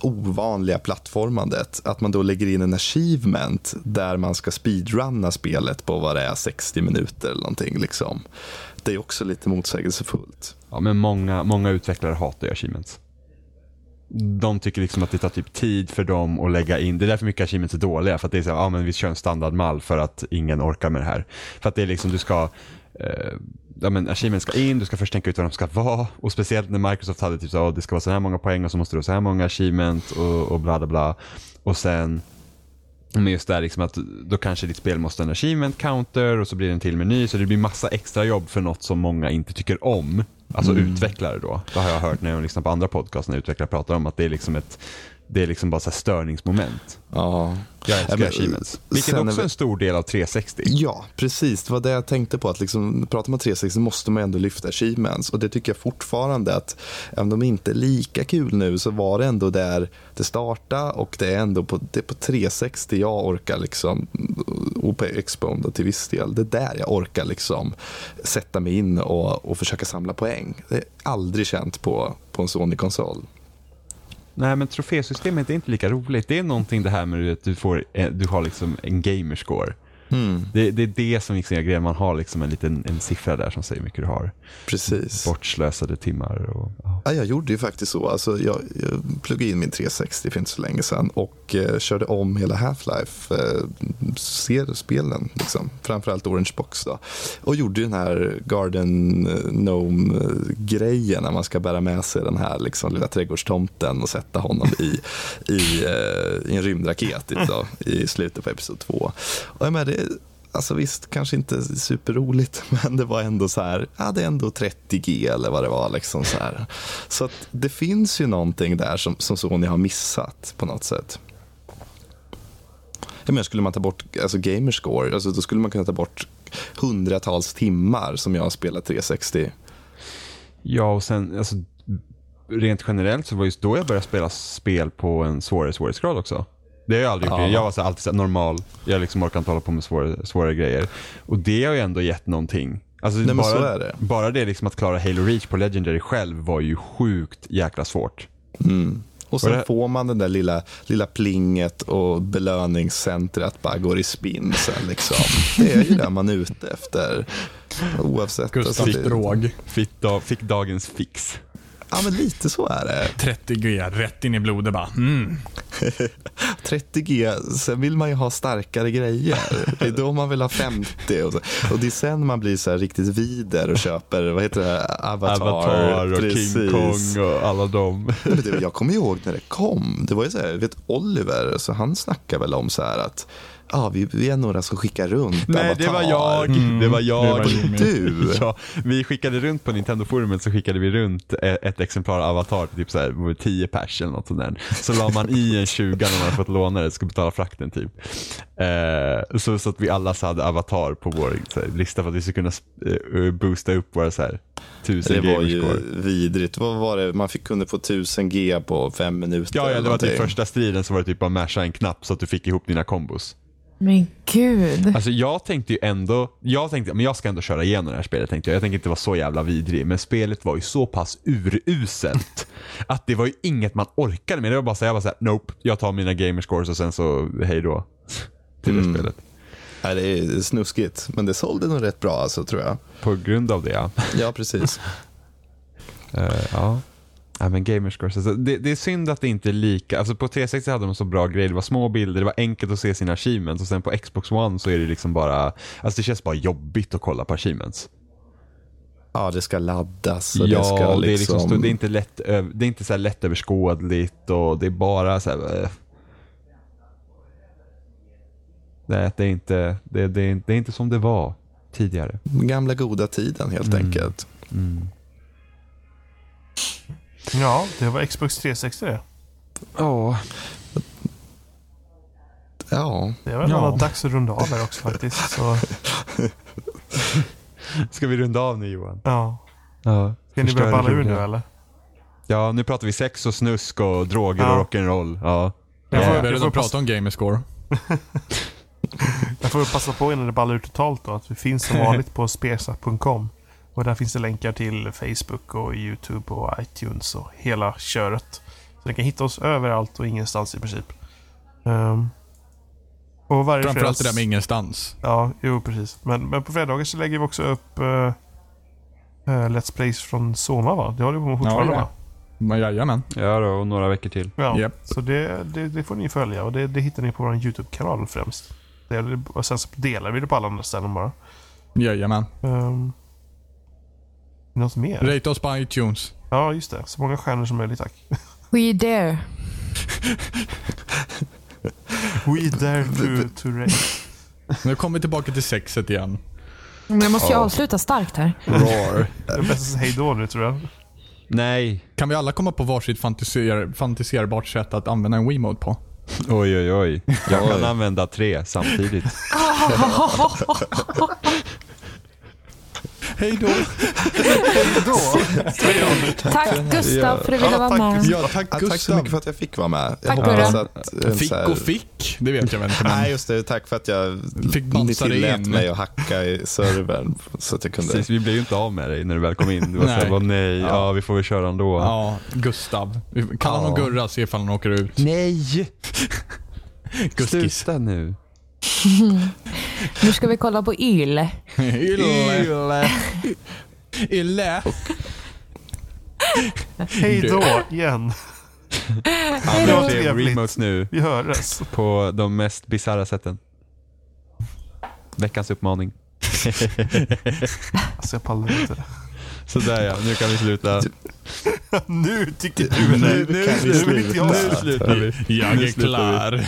ovanliga plattformandet, att man då lägger in en achievement där man ska speedrunna spelet på vad det är, 60 minuter eller Mm. någonting. Liksom. Det är också lite motsägelsefullt. Ja, men många, många utvecklare hatar ju achievements. De tycker liksom att det tar typ tid för dem att lägga in, det är därför mycket achievements är dåliga. För att det är såhär, ja men vi kör en standardmall för att ingen orkar med det här. För att det är liksom, du ska, eh, ja men achievements ska in, du ska först tänka ut vad de ska vara. Och speciellt när Microsoft hade typ såhär, det ska vara så här många poäng och så måste du ha så här många achievement och, och bla bla bla. Och sen Men just det här liksom att då kanske ditt spel måste ha en achievement counter och så blir det en till meny så det blir massa extra jobb för något som många inte tycker om. Alltså Mm. utvecklare då. Det har jag hört när jag lyssnar på andra podcasts när utvecklare pratar om att det är liksom ett det är liksom bara så här störningsmoment. Ja. Jag älskar Ja, men, achievements. Vilket sen är också vi- är en stor del av 360. Ja, precis. Det var det jag tänkte på. Att liksom, pratar man 360 måste man ändå lyfta achievements. Och det tycker jag fortfarande att, även om det inte är lika kul nu, så var det ändå där det startade och det är ändå på, det är på 360 jag orkar liksom, och på Expound till viss del, det är där jag orkar liksom sätta mig in och, och försöka samla poäng. Det har jag aldrig känt på, på en Sony-konsol. Nej men trofésystemet är inte lika roligt. Det är någonting det här med att du, får, eh, du har liksom en gamerscore. Hmm. Det, det är det som liksom är grejen. Man har liksom en liten en siffra där som säger hur mycket du har. Precis. Bortslösade timmar och... ja. Ja, jag gjorde ju faktiskt så. Alltså, jag, jag pluggade in min 360 för inte så länge sedan och eh, körde om hela Half-Life, eh, seriespelen, liksom. framförallt Orange Box. Då. Och gjorde ju den här Garden eh, Gnome-grejen när man ska bära med sig den här liksom, lilla trädgårdstomten och sätta honom i, i, eh, i en rymdraket typ då, i slutet på Episod 2. Och jag menar, det, Alltså visst, kanske inte superroligt, men det var ändå så här, ja det är ändå 30G eller vad det var. Liksom så här. så att det finns ju någonting där som, som Sony har missat på något sätt. Jag menar, skulle man ta bort alltså, gamerscore, alltså, då skulle man kunna ta bort hundratals timmar som jag har spelat 360. Ja, och sen alltså, rent generellt så var just då jag började spela spel på en svårare svårighetsgrad också. Det har jag aldrig gjort. Ja. Jag var så här, alltid så här, normal. Jag liksom orkar inte hålla på med svårare, svårare grejer. Och det har ju ändå gett någonting. Alltså, men bara, så är det. bara det liksom att klara Halo Reach på Legendary själv var ju sjukt jäkla svårt. Och sen Och det- får man det där lilla, lilla plinget och belöningscentret bara går i spinn sen. Liksom. Det är ju det man är ute efter. Oavsett. Gustavs alltså, det- drog. Fick, da, fick dagens fix. Ja, men lite så är det. 30G rätt in i blodet bara. Mm. 30G, sen vill man ju ha starkare grejer. Det är då man vill ha 50. Och, så. och det är sen man blir så här riktigt vider och köper, vad heter det, här? Avatar. Avatar och King Precis. Kong och alla dem. Nej, men det- Jag kommer ihåg när det kom. Det var ju så här, jag vet Oliver, så han snackade väl om så här att ja, vi, vi är några som skickar runt Nej, Avatar. Mm. det var jag. Det var jag. det var Jimmy. Du? Ja, vi skickade runt på Nintendo-forumet så skickade vi runt e- ett exemplar av Avatar till typ så här, 10 pers eller något sånt där. Så la man i en 20 när man hade fått låna det, skulle betala frakten typ. Eh, så, så att vi alla så hade Avatar på vår så här, lista för att vi skulle kunna eh, boosta upp våra så här, 1000 Det var ju gamerscore. vidrigt. Vad var det? Man fick, kunde få 1000 G på fem minuter. Ja, ja, eller det var typ någonting. första striden så var det typ bara masha en knapp så att du fick ihop dina kombos. Men gud. Alltså jag tänkte ju ändå, jag tänkte men jag ska ändå köra igenom det här spelet tänkte jag. Jag tänker inte vara så jävla vidrig. Men spelet var ju så pass uruselt att det var ju inget man orkade med. Det var bara så här, jag var så här, nope, jag tar mina gamerscores och sen så hej då. Till det spelet. Nej, det är snuskigt, men det sålde nog rätt bra alltså, tror jag. På grund av det ja. Ja, precis. Eh, ja. Nej men gamerscores, alltså, det, det är synd att det inte är lika. Alltså på 360 hade de så bra grejer. Det var små bilder, det var enkelt att se sina achievements och sen på Xbox One så är det liksom bara, alltså det känns bara jobbigt att kolla på achievements. Ja, det ska laddas och ja, det ska och det, är liksom... liksom, stå- det är inte, lätt, öv- det är inte så här lättöverskådligt och det är bara så här... eh, Nej, det är inte, det, det, är inte- det är inte som det var tidigare. Gamla goda tiden helt Mm. enkelt. Ja, det var Xbox 360 det. Ja, Ja, Det är väl Ja. alla dags att runda av här också faktiskt. Så, ska vi runda av nu Johan? ja. Ja. Ska ni börja balla ur nu eller? Ja, nu pratar vi sex och snusk och droger Ja. och rock'n'roll. Ja. Jag Jag får- får, vi har jag redan får passa- pratat om gamerscore. Jag får väl passa på innan det ballar ur totalt då att vi finns som vanligt på spesa.com. Och där finns det länkar till Facebook och YouTube och iTunes och hela köret. Så ni kan hitta oss överallt och ingenstans i princip. Ehm, och varje Framförallt fredags- det där med ingenstans. Ja, jo precis. Men, men på fredagar så lägger vi också upp eh, eh, Let's Plays från Soma va? Det håller vi på med fortfarande Ja, va? Men Jajamän. ja då, och några veckor till. Ja, Japp. så det, det, det får ni följa och det, det hittar ni på vår YouTube-kanal främst. Det, och sen så delar vi det på alla andra ställen bara. Jajamän. Um, något mer? Rate oss på iTunes. Ja, just det. Så många stjärnor som möjligt tack. We dare. We dare to, to rate. Nu kommer vi tillbaka till sexet igen. Men jag måste ju avsluta starkt här. roar. Det är bäst att säga hejdå nu tror jag. Nej. Kan vi alla komma på varsitt fantiser fantiserbart sätt att använda en Wiimote på? Oj, oj, oj. Jag kan Oj. använda tre samtidigt. Hej då! Hejdå! Tack Gustav för att du ville Ja, vara tack, med. Ja, tack Ja, Gustav. tack så mycket för att jag fick vara med. Jag Tack, hoppas Gurra. att... eh, Fick så här- och fick, det vet jag väl inte. Nej, Men just det. Tack för att jag... Fick ni bansa dig tillät in. mig att hacka i servern så att jag kunde... Precis, vi blev ju inte av med dig när du väl kom in. Du var Nej. såhär, nej, ja. vi får väl köra ändå. ja, Gustav. Vi Kallar honom Ja. Gurra se ifall han åker ut. Nej! Guskis. Sluta nu. Nu ska vi kolla på YLE. Ille. Ille. Hej då igen. Han då. gör tre Trevligt. remotes nu Vi hörs. på de mest bisarra sätten. Veckans uppmaning. Alltså jag pallar inte. Sådär ja, nu kan vi sluta. Nu tycker du Nu det. kan vi nu vill inte jag sluta. sluta. slutar vi. Jag Nu är slutar vi. klar.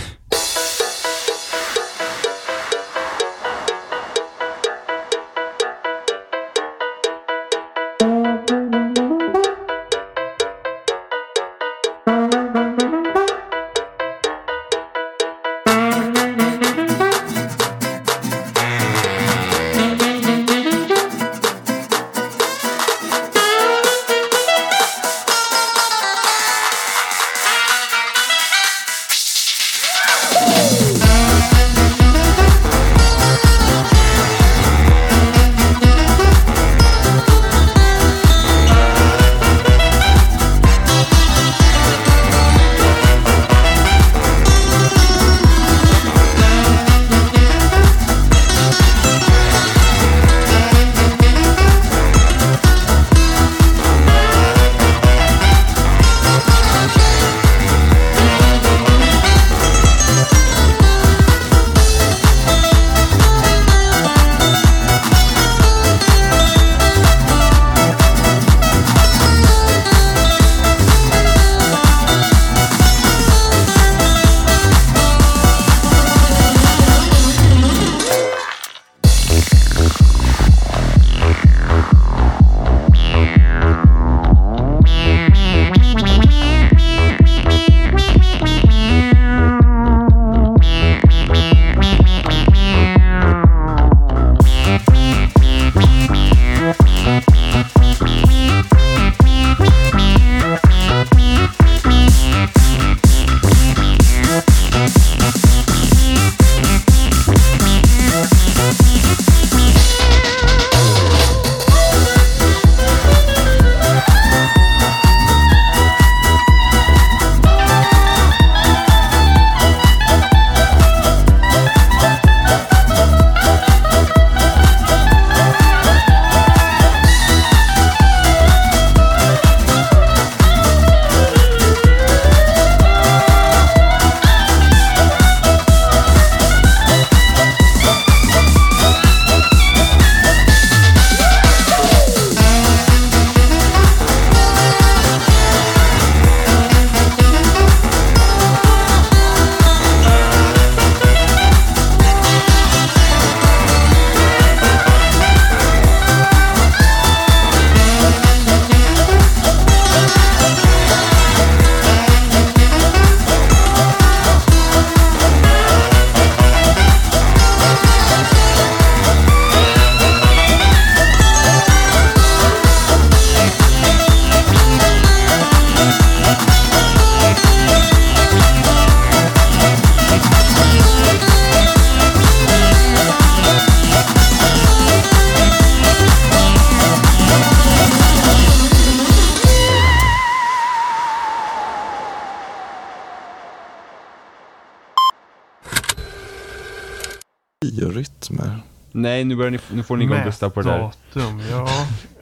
Biorytmer. Nej, nu, börjar ni, nu får ni igång Gustav på det där. Mätdatum, ja.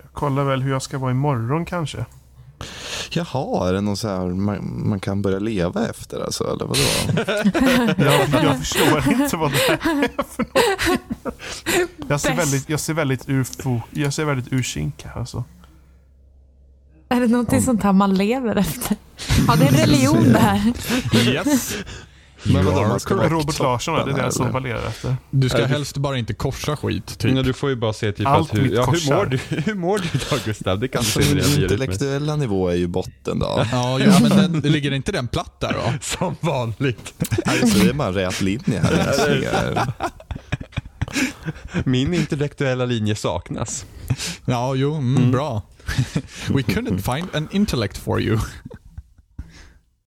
Jag kollar väl hur jag ska vara imorgon kanske. Jaha, är det någon så här man, man kan börja leva efter alltså? Eller vadå? Jag, jag förstår inte vad det här är för något. Jag ser Bäst. väldigt, jag ser väldigt ur, fo- jag ser väldigt ur kink här alltså. Är det någonting sånt här man lever efter? Ja, det är en religion det här. Yes. Men vadå, You man are ska vara på Robert Larsson, det är toppen det här, jag som eller? valerar efter. Du Ja, ska du- helst bara inte korsa skit, Ja, typ. du får ju bara se typ Allt att hur, mitt ja, hur, korsar. mår du, hur mår du idag Gustav? Det kan du se Min i det här biorytmen. intellektuella nivå är ju botten då. Ja, ja men den, ligger inte den platt där då? Som vanligt. Så Alltså, det är bara en rät linje här. än så länge. Min intellektuella linje saknas. Ja, jo, mm, bra. We couldn't find an intellect for you.